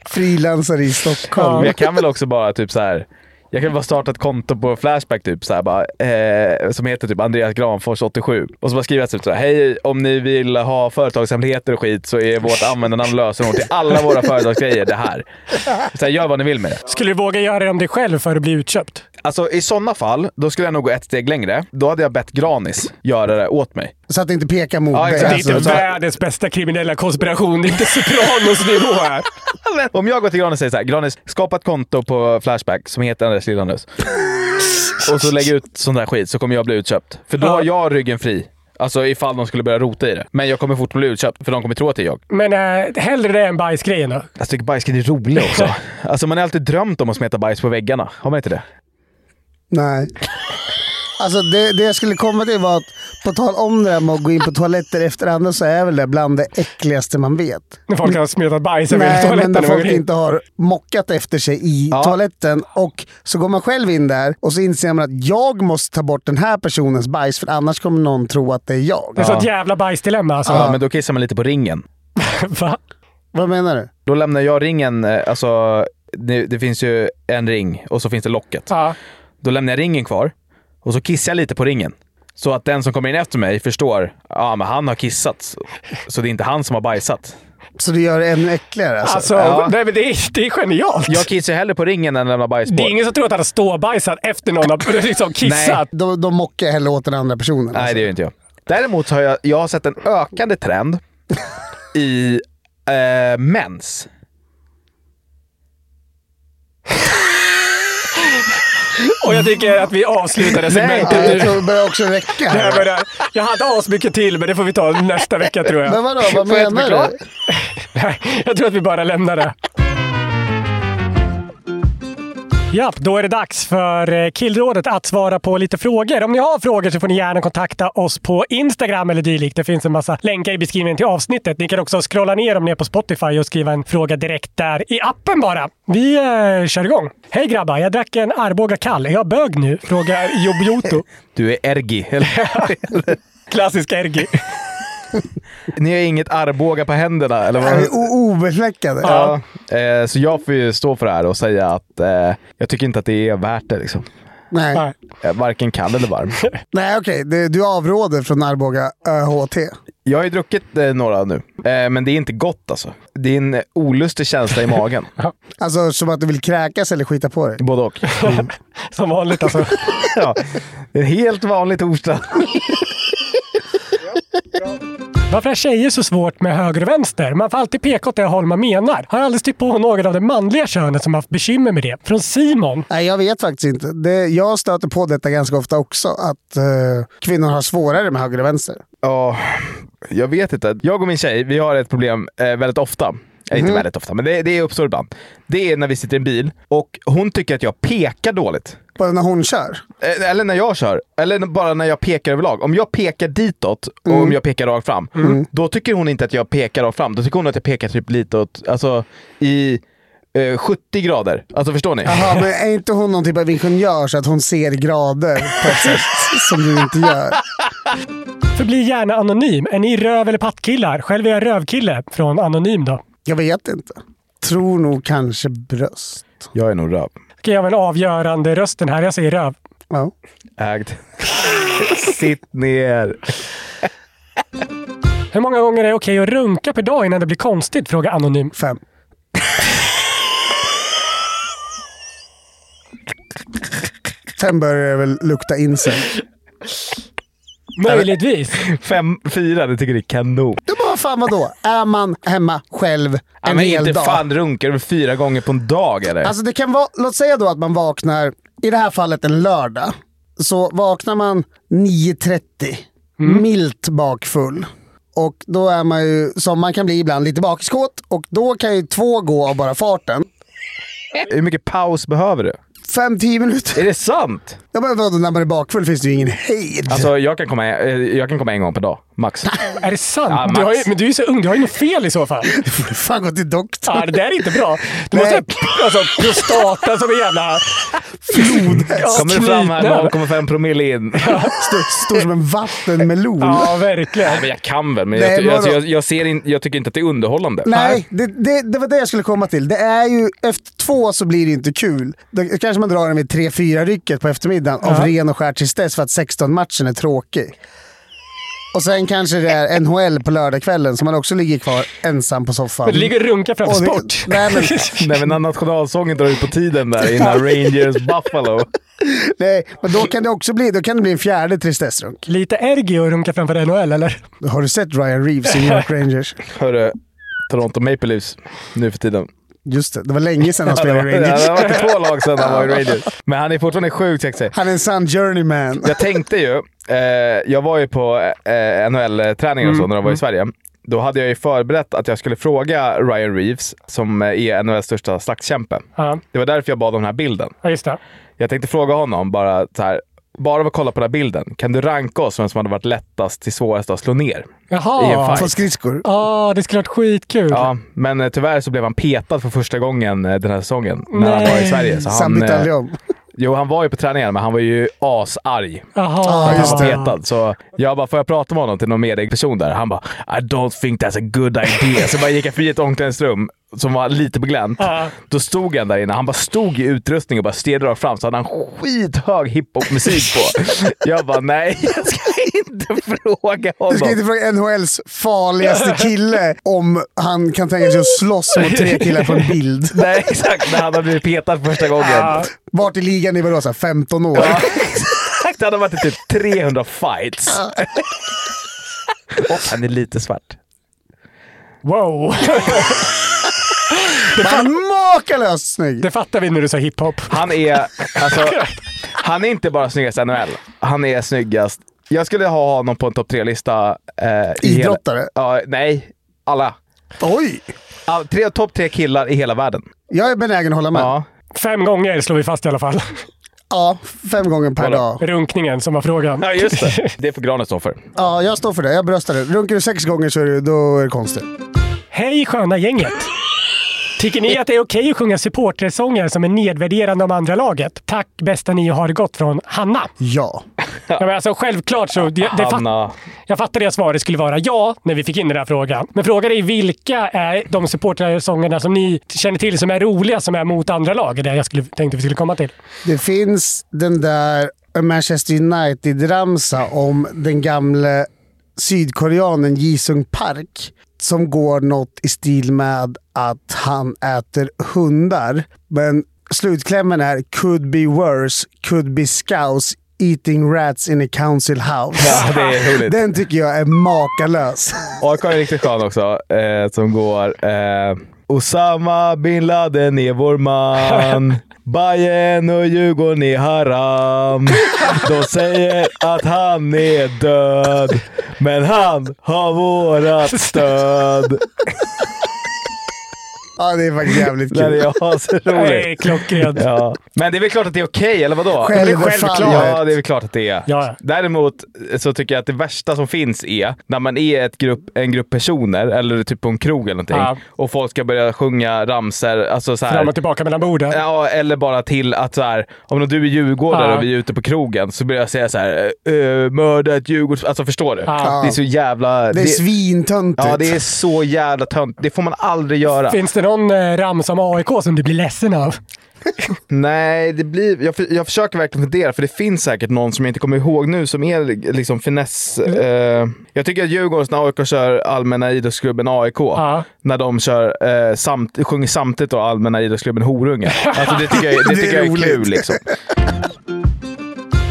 S2: Frilansare i Stockholm.
S3: Men jag kan väl också bara typ så här. Jag kan bara starta ett konto på Flashback typ, så här, bara, eh, som heter typ Andreas Granfors 87. Och så bara skriver jag typ så här, hej om ni vill ha företagshemligheter och skit så är vårt användarnamn och lösenord till alla våra företagsgrejer det här. Så här, gör vad ni vill med det.
S4: Skulle du våga göra det om dig själv för att bli utköpt?
S3: Alltså i sådana fall, då skulle jag nog gå ett steg längre. Då hade jag bett Granis göra det åt mig.
S2: Så att det inte pekar mot
S3: Ja,
S2: dig.
S3: exakt.
S4: Det är inte
S3: Alltså, så-
S4: världens bästa kriminella konspiration. Det är inte Sopranos nivå här.
S3: Om jag går till Granis och säger så här, Granis, skapa ett konto på Flashback som heter Anders Lillanus. och så lägger ut sån där skit så kommer jag bli utköpt. För då har jag ryggen fri. Alltså ifall de skulle börja rota i det. Men jag kommer fort bli utköpt för de kommer tro att det är jag.
S4: Men äh, hellre det än bajsgrejen då.
S3: Jag tycker bajsken är rolig också. alltså man har alltid drömt om att smeta bajs på väggarna. Har man inte det?
S2: Nej. Alltså det, det jag skulle komma till var att, på tal om det där med att gå in på toaletter efter andra, så är väl det bland det äckligaste man vet.
S4: När folk har smetat bajs över hela
S2: Nej, men
S4: toaletten.
S2: när
S4: när man
S2: folk
S4: går in.
S2: inte har mockat efter sig i toaletten. Och så går man själv in där och så inser man att jag måste ta bort den här personens bajs, för annars kommer någon tro att det är jag.
S4: Det är sånt jävla bajsdilemma alltså.
S3: Ja. men då kissar man lite på ringen.
S4: Va?
S2: Vad menar du?
S3: Då lämnar jag ringen, eh, alltså det, det finns ju en ring och så finns det locket.
S4: Ja.
S3: Då lämnar jag ringen kvar och så kissar jag lite på ringen. Så att den som kommer in efter mig förstår, ja men han har kissat. Så det är inte han som har bajsat.
S2: Så det gör det ännu äckligare alltså?
S4: Alltså, nej, men det, är, det är genialt.
S3: Jag kissar hellre på ringen än lämnar bajsspår.
S4: det är ingen som tror att han har ståbajsat efter någon har liksom kissat.
S2: Då, då mockar jag hellre åt den andra personen.
S3: Nej,
S2: alltså.
S3: det gör inte jag. Däremot så har jag, jag har sett en ökande trend i eh, mens.
S4: Och jag tycker att vi avslutar det
S2: Ja,
S4: segmentet
S2: jag
S4: nu.
S2: tror det börjar också räcka
S4: Det här
S2: här.
S4: börjar- Jag hade asmycket till, men det får vi ta nästa vecka tror jag.
S2: Men vadå, vad
S3: Får jag inte
S2: menar
S3: förklara?
S2: du?
S4: Nej, jag tror att vi bara lämnar det. Japp, då är det dags för eh, Killrådet att svara på lite frågor. Om ni har frågor så får ni gärna kontakta oss på Instagram eller dylikt. Det finns en massa länkar i beskrivningen till avsnittet. Ni kan också scrolla ner om ni är på Spotify och skriva en fråga direkt där i appen bara. Vi eh, kör igång. Hej grabbar, jag drack en Arboga kall. Är jag bög nu? Frågar Jobioto.
S3: Du är ergi. eller?
S4: Klassisk Ergi.
S3: Ni har inget armbåga på händerna, eller
S2: Är
S3: vad?
S2: vi o- obefläckade?
S3: Ja. Eh, så jag får ju stå för det här och säga att eh, jag tycker inte att det är värt det. Liksom.
S2: Nej.
S3: Eh, Varken kall eller varm.
S2: Nej, okej. Du- Du avråder från Arboga ÖHT.
S3: Jag har ju druckit eh, några nu, eh, men det är inte gott alltså. Det är en eh, olustig känsla i magen.
S2: Alltså som att du vill kräkas eller skita på dig.
S3: Både och.
S4: Som vanligt alltså.
S3: ja, en helt vanlig torsdag.
S4: Varför är tjejer så svårt med höger och vänster? Man får alltid peka åt det håll man menar. Har aldrig stött på någon av det manliga könet som haft bekymmer med det. Från Simon.
S2: Nej, jag vet faktiskt inte. Det, jag stöter på detta ganska ofta också, att eh, kvinnor har svårare med höger och vänster.
S3: Ja, jag vet inte. Jag och min tjej, vi har ett problem eh, väldigt ofta. Eh, Inte
S2: Mhm.
S3: väldigt ofta, men det, det uppstår ibland. Det är när vi sitter i en bil och hon tycker att jag pekar dåligt.
S2: Bara när hon kör?
S3: Eh, Eller när jag kör. Eller n- bara när jag pekar överlag. Om jag pekar ditåt och
S2: Mm.
S3: om jag pekar rakt fram, då tycker hon inte att jag pekar rakt fram. Då tycker hon att jag pekar typ lite åt, alltså i eh, 70 grader. Alltså förstår ni?
S2: Jaha, men är inte hon någon typ av ingenjör så att hon ser grader på ett sätt som du inte gör?
S4: Förbli gärna anonym. Är ni röv eller pattkillar? Själv är jag rövkille. Från Anonym då.
S2: Jag vet inte. Tror nog kanske bröst.
S3: Jag är nog röv.
S4: Ska jag väl avgörande rösten här? Jag säger röv.
S2: Ja.
S3: Ägd. Sitt ner.
S4: Hur många gånger är det okej att runka per dag innan det blir konstigt? Frågar Anonym.
S2: Fem. Sen börjar det väl lukta in sig.
S4: Möjligtvis.
S3: Fem, fyra, det tycker det är kanon.
S2: Då bara, fan vadå? Är man hemma själv en
S3: Ja, men
S2: hel
S3: inte
S2: dag?
S3: fan runkar du fyra gånger på en dag eller?
S2: Alltså det kan vara, låt säga då att man vaknar, i det här fallet en lördag, så vaknar man 9.30,
S3: Mm.
S2: milt bakfull. Och då är man ju, som man kan bli ibland, lite bakiskåt och då kan ju två gå av bara farten.
S3: Hur mycket paus behöver du?
S2: Fem, tio minuter.
S3: Är det sant?
S2: Ja, men vadå, när man är bakfull finns det ju ingen hejd.
S3: Alltså jag kan komma, eh, jag kan komma en gång per dag, max.
S4: Är det sant?
S3: Ja, Max.
S4: du har ju, men du är ju så ung. Du har ju något fel i så fall.
S2: Fan gå till doktorn.
S4: Ja, det där är inte bra. Du måste ha alltså, prostata som en jävla...
S2: Flodhäst.
S3: Kommer du fram här med 0,5 promille in?
S2: Står, står som en vattenmelon.
S4: Ja, verkligen.
S3: Nej, men jag kan väl, men
S2: Nej,
S3: jag, ty-
S2: vadå?
S3: alltså, jag, jag, ser in, jag tycker inte att det är underhållande.
S2: Nej, det, det, det var det jag skulle komma till. Det är ju, efter två så blir det ju inte kul. Då kanske man drar den vid 3-4-rycket på eftermiddagen av ren och skär tristess för att 16-matchen är tråkig. Och sen kanske det är NHL på lördagskvällen så man också ligger kvar ensam på soffan.
S4: Men du ligger och runkar framför
S2: Och det-
S4: sport.
S2: Nej, men,
S3: Nej, men när nationalsången drar ut på tiden där innan Rangers Buffalo.
S2: nej, men då kan det också bli, då kan det bli en fjärde tristessrunk.
S4: Lite ergi och runka framför NHL, eller?
S2: Har du sett Ryan Reeves i New York Rangers?
S3: Hörru, Toronto Maple Leafs nu för tiden.
S2: Just det, det var länge sedan han
S3: Ja, det
S2: spelade i
S3: var- ja,
S2: Rangers.
S3: det var två lag sedan han var i Rangers. Men han är fortfarande sjukt sexig.
S2: Han är en sann journeyman.
S3: Jag tänkte ju, eh, jag var ju på eh, NHL-träningar och så när de var i Sverige. Då hade jag ju förberett att jag skulle fråga Ryan Reeves, som eh, är NHLs största slagskämpe.
S4: Ja,
S3: Det var därför jag bad om den här bilden.
S4: ja, just det.
S3: Jag tänkte fråga honom bara så här. Bara av att kolla på den här bilden, kan du ranka oss vem som hade varit lättast till svårast att slå ner? I en
S4: Jaha.
S3: fight.
S2: Från skridskor.
S4: Ja, det skulle varit skitkul.
S3: Ja, men eh, tyvärr så blev han petad för första gången eh, den här säsongen när han var i
S4: Nej.
S3: Sverige.
S2: Så
S3: Så
S2: han
S3: han,
S2: bytte
S3: eh,
S2: aldrig om.
S3: jo, han var ju på träningen, men han var ju asarg.
S4: Jaha.
S2: Ja,
S3: Han
S2: just
S3: var
S2: det.
S3: petad. Så jag bara, får jag prata med honom till någon medieperson där? Han bara, I don't think that's a good idea. Så bara gick jag förbi ett omklädningsrum som var lite på glänt.
S4: Ja.
S3: Då stod han där inne. Han bara stod i utrustning och bara stirrade rakt fram. Så hade han skithög hiphopmusik på. Jag bara, nej, jag ska inte fråga
S2: Du ska inte
S3: honom.
S2: fråga NHLs farligaste kille om han kan tänka sig att slåss mot tre killar på en bild.
S3: Nej, exakt. När han hade blivit petad första gången.
S2: Vart i ligan i vadå, så här 15 år?
S3: Ja, exakt. Han har varit i typ 300 fights. Och han är lite svart.
S4: Wow.
S2: Han är makalöst snygg!
S4: Det fattar vi när du sa hiphop.
S3: Han är, alltså, han är inte bara snyggast i NHL. Han är snyggast. Jag skulle ha honom på en topp tre-lista. Eh, i hela-
S2: Idrottare?
S3: Ja, nej, alla.
S2: Oj!
S3: All, tre, topp tre killar i hela världen.
S2: Jag är benägen att hålla med. Ja,
S3: Ja.
S4: Fem gånger slår vi fast i alla fall.
S2: fem gånger per
S3: Vadå?
S2: dag.
S4: Runkningen som var frågan.
S3: ja, just det. Det får granen stå för.
S2: Ja, jag står för det. Jag bröstar det. Runkar du sex gånger så är det, då är det konstigt.
S4: Hej sköna gänget! Tycker ni att det är okej att sjunga supportersånger som är nedvärderande om andra laget? Tack bästa ni har gått från Hanna.
S2: Ja.
S4: ja men alltså, självklart så... Det, det
S3: Hanna.
S4: Fatt, jag fattade att svaret skulle vara ja när vi fick in den här frågan. Men frågan är vilka är de supportersångerna som ni känner till som är roliga, som är mot andra lag? Det är det jag skulle, tänkte vi skulle komma till.
S2: Det finns den där Manchester United-ramsa om den gamle sydkoreanen Jisung Park som går något i stil med att han äter hundar. Men slutklämmen är “Could be worse, could be scouse eating rats in a council house”.
S3: Ja, det är roligt.
S2: Den tycker jag är makalös.
S3: AIK är riktigt skön också, eh, som går... Eh, Osama bin Laden är vår man. Bayern och Djurgården är haram. De säger att han är död, men han har vårat stöd.
S2: Ja, det är faktiskt jävligt kul.
S3: Nej, det är så
S4: Nej,
S3: roligt.
S4: klockrent.
S3: Ja. Men det är väl klart att det är okej, eller vadå?
S2: Självfallet.
S3: Ja, det är väl klart att det är.
S4: Ja.
S3: Däremot så tycker jag att det värsta som finns är när man är ett grupp, en grupp personer, eller typ på en krog eller någonting,
S4: Ja.
S3: och folk ska börja sjunga ramsor, alltså så här,
S4: Fram och tillbaka mellan borden.
S3: Ja, eller bara till att så här, om du är djurgårdare
S4: Ja.
S3: och vi är ute på krogen så börjar jag säga så här, "Eh, mörda ett djurgårds... Alltså förstår du?
S4: Ja.
S3: Det är så jävla...
S2: Det är svintöntigt.
S3: Ja, det är så jävla tönt. Det får man aldrig göra.
S4: Finns det någon eh, ramsa om AIK som du blir ledsen av?
S3: Nej, det blir, jag, för- jag försöker verkligen fundera, för det finns säkert någon som jag inte kommer ihåg nu som är liksom finess.
S2: Mm.
S3: Eh, jag tycker att Djurgårdens när AIK kör allmänna idrottsklubben AIK,
S4: Ja.
S3: när de kör, eh, samt, sjunger samtidigt då allmänna idrottsklubben Horunge. Alltså, det tycker jag, det
S2: Det är
S3: tycker jag är
S2: roligt.
S3: kul. Liksom.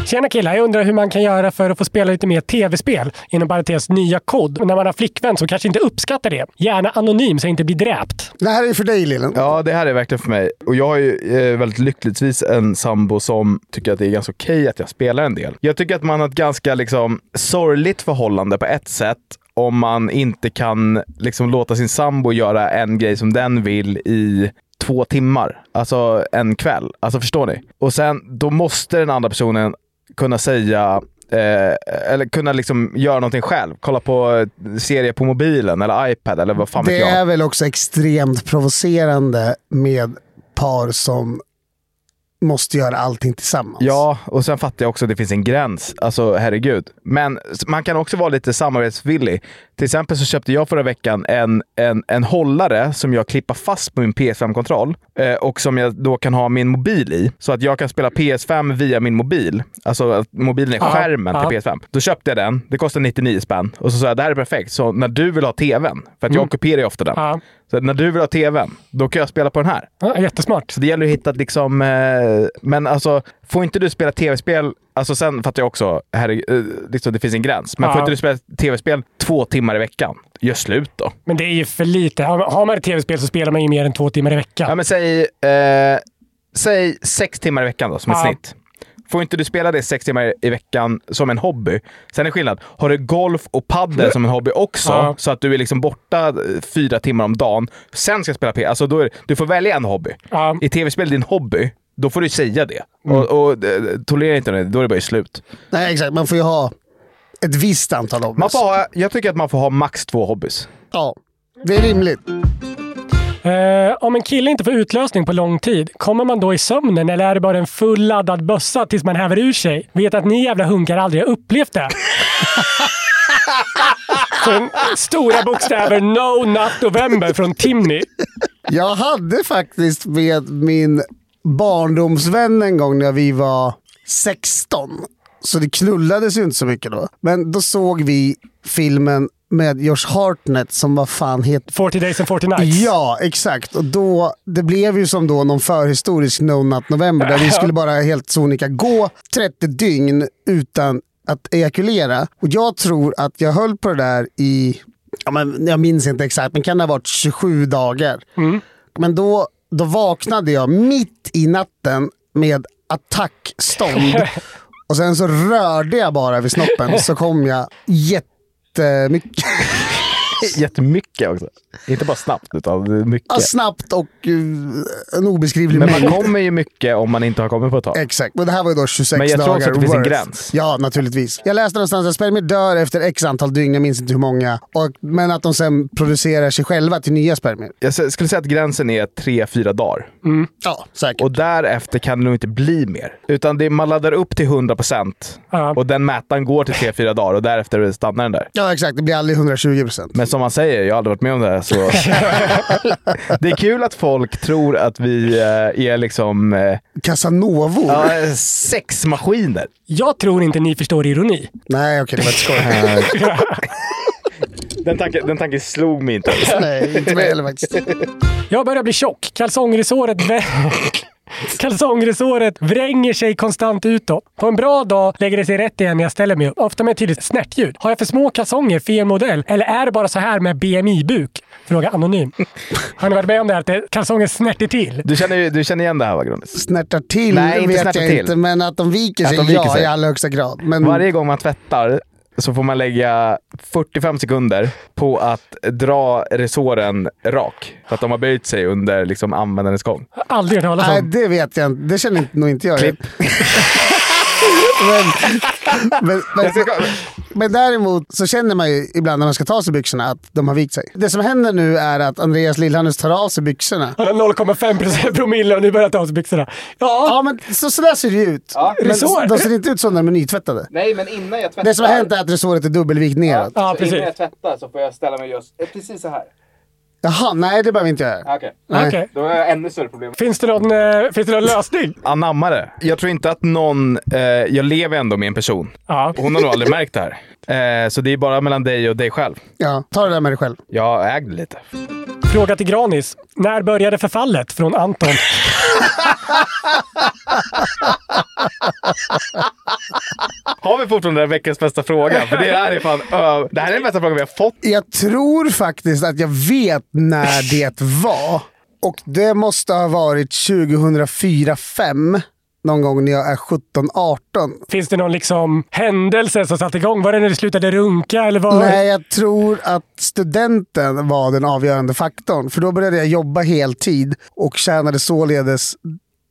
S4: Tjena killar, jag undrar hur man kan göra för att få spela lite mer tv-spel, inom parentes nya kod. Och när man har flickvän som kanske inte uppskattar det. Gärna anonym så jag inte blir dräpt.
S2: Det här är för dig Lillen.
S3: Ja, det här är verkligen för mig. Och jag har ju eh, väldigt lyckligtvis en sambo som tycker att det är ganska okej att jag spelar en del. Jag tycker att man har ett ganska liksom, sorgligt förhållande på ett sätt om man inte kan liksom, låta sin sambo göra en grej som den vill i två timmar. Alltså en kväll. Alltså förstår ni? Och sen, då måste den andra personen kunna säga Eh, eller kunna liksom göra någonting själv. Kolla på eh, serier på mobilen eller iPad eller vad fan vet
S2: Det
S3: jag.
S2: är väl också extremt provocerande med par som måste göra allting tillsammans.
S3: Ja, och sen fattar jag också att det finns en gräns. Alltså herregud. Men s- man kan också vara lite samarbetsvillig. Till exempel så köpte jag förra veckan en, en, en hållare som jag klippar fast på min PS5-kontroll eh, och som jag då kan ha min mobil i. Så att jag kan spela PS5 via min mobil. Alltså att mobilen är
S4: Ja,
S3: skärmen
S4: ja.
S3: till PS5. Då köpte jag den. Det kostar 99 spänn. Och så sa jag det här är perfekt. Så när du vill ha tvn, för att jag ockuperar ju ofta den.
S4: Mm. Ja.
S3: Så att när du vill ha tvn, då kan jag spela på den här.
S4: Ja, jättesmart.
S3: Så det gäller att hitta liksom, eh, men alltså får inte du spela tv-spel, alltså sen fattar jag också, här, är- eh, liksom, det finns en gräns, men
S4: Ja.
S3: får inte du spela tv-spel två timmar i veckan, gör slut då.
S4: Men det är ju för lite. Har har man ett tv-spel så spelar man ju mer än två timmar i
S3: Ja,
S4: veckan.
S3: men säg, eh, säg sex timmar i veckan då, som ett
S4: Ja.
S3: snitt. Får inte du spela det sex timmar i veckan som en hobby? Sen är det skillnad. Har du golf och paddel som en hobby också,
S4: Ja.
S3: så att du är liksom borta eh, fyra timmar om dagen, sen ska spela P. Alltså, då är, du får välja en hobby.
S4: Ja. Mm.
S3: I tv-spel, din hobby, då får du säga det. Och, och eh, tolerera inte det, då är det bara slut.
S2: Nej, exakt. Man får ju ha ett visst antal hobbys.
S3: Man får ha, jag tycker att man får ha max två hobbys.
S2: Ja, det är rimligt.
S4: Eh, om en kille inte får utlösning på lång tid, kommer man då i sömnen eller är det bara en full laddad bössa tills man häver ur sig? Vet att ni jävla hunkar aldrig har upplevt det. Från stora bokstäver No Not November från Timmy.
S2: Jag hade faktiskt med min barndomsvän en gång när vi var 16. Så det knullades ju inte så mycket då. Men då såg vi filmen med Josh Hartnett som vad fan heter
S4: 40 Days and 40 Nights.
S2: Ja, exakt. Och då, det blev ju som då någon förhistorisk No Nut November där vi skulle bara helt sonika gå 30 dygn utan att ejakulera. Och jag tror att jag höll på det där i, ja, men jag minns inte exakt, men kan det ha varit 27 dagar. Men då, då vaknade jag mitt i natten med attackstånd. Och sen så rörde jag bara vid snoppen så kom jag jättemycket
S3: Jättemycket också. Inte bara snabbt, utan mycket.
S2: Ja,
S4: Alltså,
S2: snabbt och uh, en obeskrivlig
S3: Men
S2: mängd.
S3: man kommer ju mycket om man inte har kommit på ett tag.
S2: Exakt, men det här var ju då 26 dagar
S3: Men jag tror också att det finns en
S2: worth.
S3: gräns.
S2: Ja, naturligtvis. Jag läste någonstans att spermier dör efter x antal dygn, jag minns inte hur många. Och, men att de sen producerar sig själva till nya spermier.
S3: Jag s- skulle säga att gränsen är tre, fyra dagar.
S2: Ja, säkert.
S3: Och därefter kan det nog inte bli mer. Utan det, man laddar upp till 100 procent och den mätaren går till tre, fyra dagar och därefter stannar den där.
S2: Ja, exakt. Det blir aldrig 120 procent.
S3: Men som man säger, jag har aldrig varit med om det här. Så... det är kul att folk tror att vi eh, är liksom eh,
S2: Casanovor.
S3: ja, sexmaskiner.
S4: Jag tror inte ni förstår ironi.
S2: Nej, okej. det var ett skoj.
S3: Den tanken, den tanken slog mig inte ens.
S2: Nej, inte mig heller faktiskt.
S4: Jag börjar bli tjock. Kalsongresåret, vä- Kalsongresåret vränger sig konstant utåt. På en bra dag lägger det sig rätt igen när jag ställer mig upp. Ofta med ett tydligt snärtljud. Har jag för små kalsonger, fel modell? Eller är det bara så här med BMI-buk? Fråga anonym. Har ni varit med om det här att kalsongen snärter till?
S3: Du känner, ju- du känner igen det här va, Grundis?
S2: Snärtar till
S3: Nej, inte
S2: vet
S3: snärtar
S2: jag
S3: till.
S2: inte, men att de viker
S3: Att
S2: sig,
S3: de viker
S2: ja,
S3: sig.
S2: i allra högsta grad.
S10: Mm.
S2: Men
S3: Varje gång man tvättar så får man lägga 45 sekunder på att dra resåren rak. För att de har böjt sig under liksom, användandets gång.
S4: Aldrig hört talas
S2: Nej,
S4: om.
S2: det vet jag inte. Det känner inte, nog inte jag.
S3: Klipp.
S2: men, men, men, men däremot så känner man ju ibland när man ska ta sig byxorna att de har vikt sig. Det som händer nu är att Andreas Lillhannes tar av sig byxorna.
S4: Han har 0,5 promille och nu börjar jag ta av sig byxorna. Ja,
S2: Ja, men så, så där ser det ju ut.
S4: är det
S2: men
S4: så?
S2: de ser inte ut så när de är nytvättade.
S10: Nej, men innan jag tvättar.
S2: Det som har hänt är att resåret är dubbelvikt neråt.
S4: Ja,
S10: så
S4: precis.
S10: Innan jag tvättar så får jag ställa mig just eh, precis så här.
S2: Jaha, nej det behöver vi inte göra.
S10: Ah, Okej.
S2: Nej.
S4: Okej.
S10: Då har jag ännu större problem.
S4: Finns det någon, eh, finns det någon lösning?
S3: Anamma det. Jag tror inte att någon... Eh, jag lever ändå med en person.
S4: Ja.
S3: Hon har nog aldrig märkt det här. Eh, så det är bara mellan dig och dig själv.
S2: Ja, ta det där med dig själv.
S3: Jag ägde lite.
S4: Fråga till Granis. När började förfallet? Från Anton.
S3: Har vi fortfarande den här veckans bästa fråga? För det här är fan... ö- det här är den bästa frågan vi har fått.
S2: Jag tror faktiskt att jag vet när det var. Och det måste ha varit 2004-05. Någon gång när jag är 17-18.
S4: Finns det någon liksom händelse som satte igång? Var det när du slutade runka? Eller var...
S2: Nej, jag tror att studenten var den avgörande faktorn. För då började jag jobba heltid och tjänade således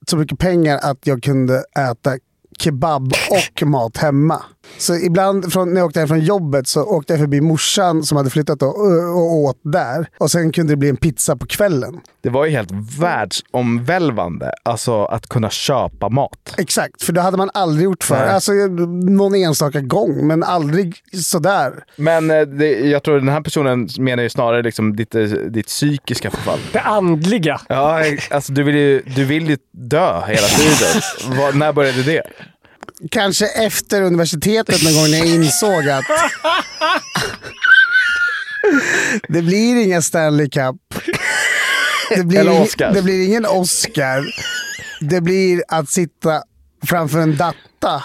S2: så mycket pengar att jag kunde äta kebab och mat hemma. Så ibland från, när jag åkte hem från jobbet så åkte jag förbi morsan som hade flyttat då, och, och åt där. Och sen kunde det bli en pizza på kvällen.
S3: Det var ju helt världsomvälvande. Alltså att kunna köpa mat.
S2: Exakt, för det hade man aldrig gjort förr.
S3: Nej.
S2: Alltså någon enstaka gång, men aldrig sådär.
S3: Men eh, det, jag tror den här personen menar ju snarare liksom ditt, eh, ditt psykiska förfall.
S4: Det andliga.
S3: Ja, alltså du vill ju, du vill ju dö hela tiden. Var, när började det?
S2: Kanske efter universitetet någon gång när jag insåg att det blir inga Stanley Cup. Det blir,
S3: Eller Oscar.
S2: det blir ingen Oscar. Det blir att sitta framför en datta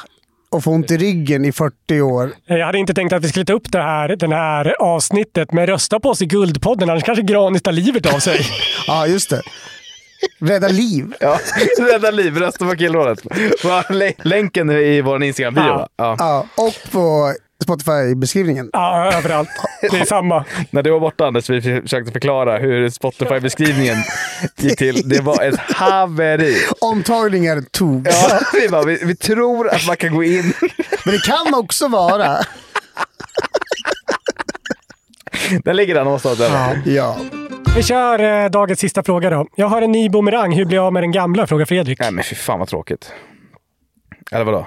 S2: och få ont i ryggen i 40 år.
S4: Jag hade inte tänkt att vi skulle ta upp det här, den här avsnittet, men rösta på oss i Guldpodden, annars kanske Granis tar livet av sig.
S2: Ja, just det. Rädda liv.
S3: Ja, rädda liv, rösta på killrådet. Va, lä- Länken i vår Instagram-bio va? Ja.
S2: Ja, och på Spotify-beskrivningen.
S4: Ja, överallt. Det är samma.
S3: När du var borta Anders, vi försökte förklara hur Spotify-beskrivningen gick till. Det var ett haveri.
S2: Omtagningar togs.
S3: Ja, vi, bara, vi, vi tror att man kan gå in.
S2: Men det kan också vara...
S3: Där ligger den någonstans. Ja.
S2: Ja.
S4: Vi kör eh, dagens sista fråga då. Jag har en ny boomerang. Hur blir jag av med den gamla? Frågar Fredrik.
S3: Nej men fy fan vad tråkigt. Eller vadå?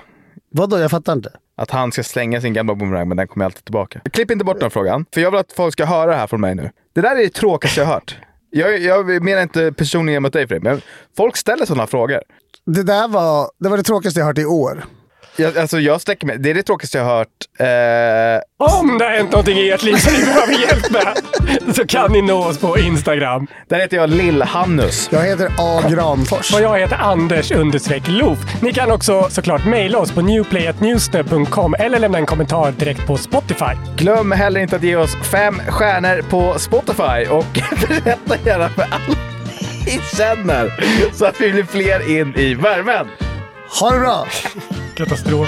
S2: Vadå, jag fattar inte.
S3: Att han ska slänga sin gamla boomerang, men den kommer alltid tillbaka. Klipp inte bort den frågan, för jag vill att folk ska höra det här från mig nu. Det där är det tråkigaste jag har hört. Jag, jag menar inte personligen mot dig Fredrik, men folk ställer sådana frågor.
S2: Det där var det, var det tråkigaste jag hört i år.
S3: Jag, alltså jag sträcker mig. Det är det tråkigaste jag har hört. Eh,
S4: Om det har hänt någonting i ert liv som ni behöver hjälp med så kan ni nå oss på Instagram.
S3: där heter jag Lill-Hannus.
S2: Jag heter A. Granfors.
S4: Och jag heter Anders understreck Loof. Ni kan också såklart mejla oss på newplayatnewsnap.com eller lämna en kommentar direkt på Spotify.
S3: Glöm heller inte att ge oss fem stjärnor på Spotify och berätta gärna för alla ni känner så att vi blir fler in i värmen.
S2: Ha det bra!
S4: Katastrof.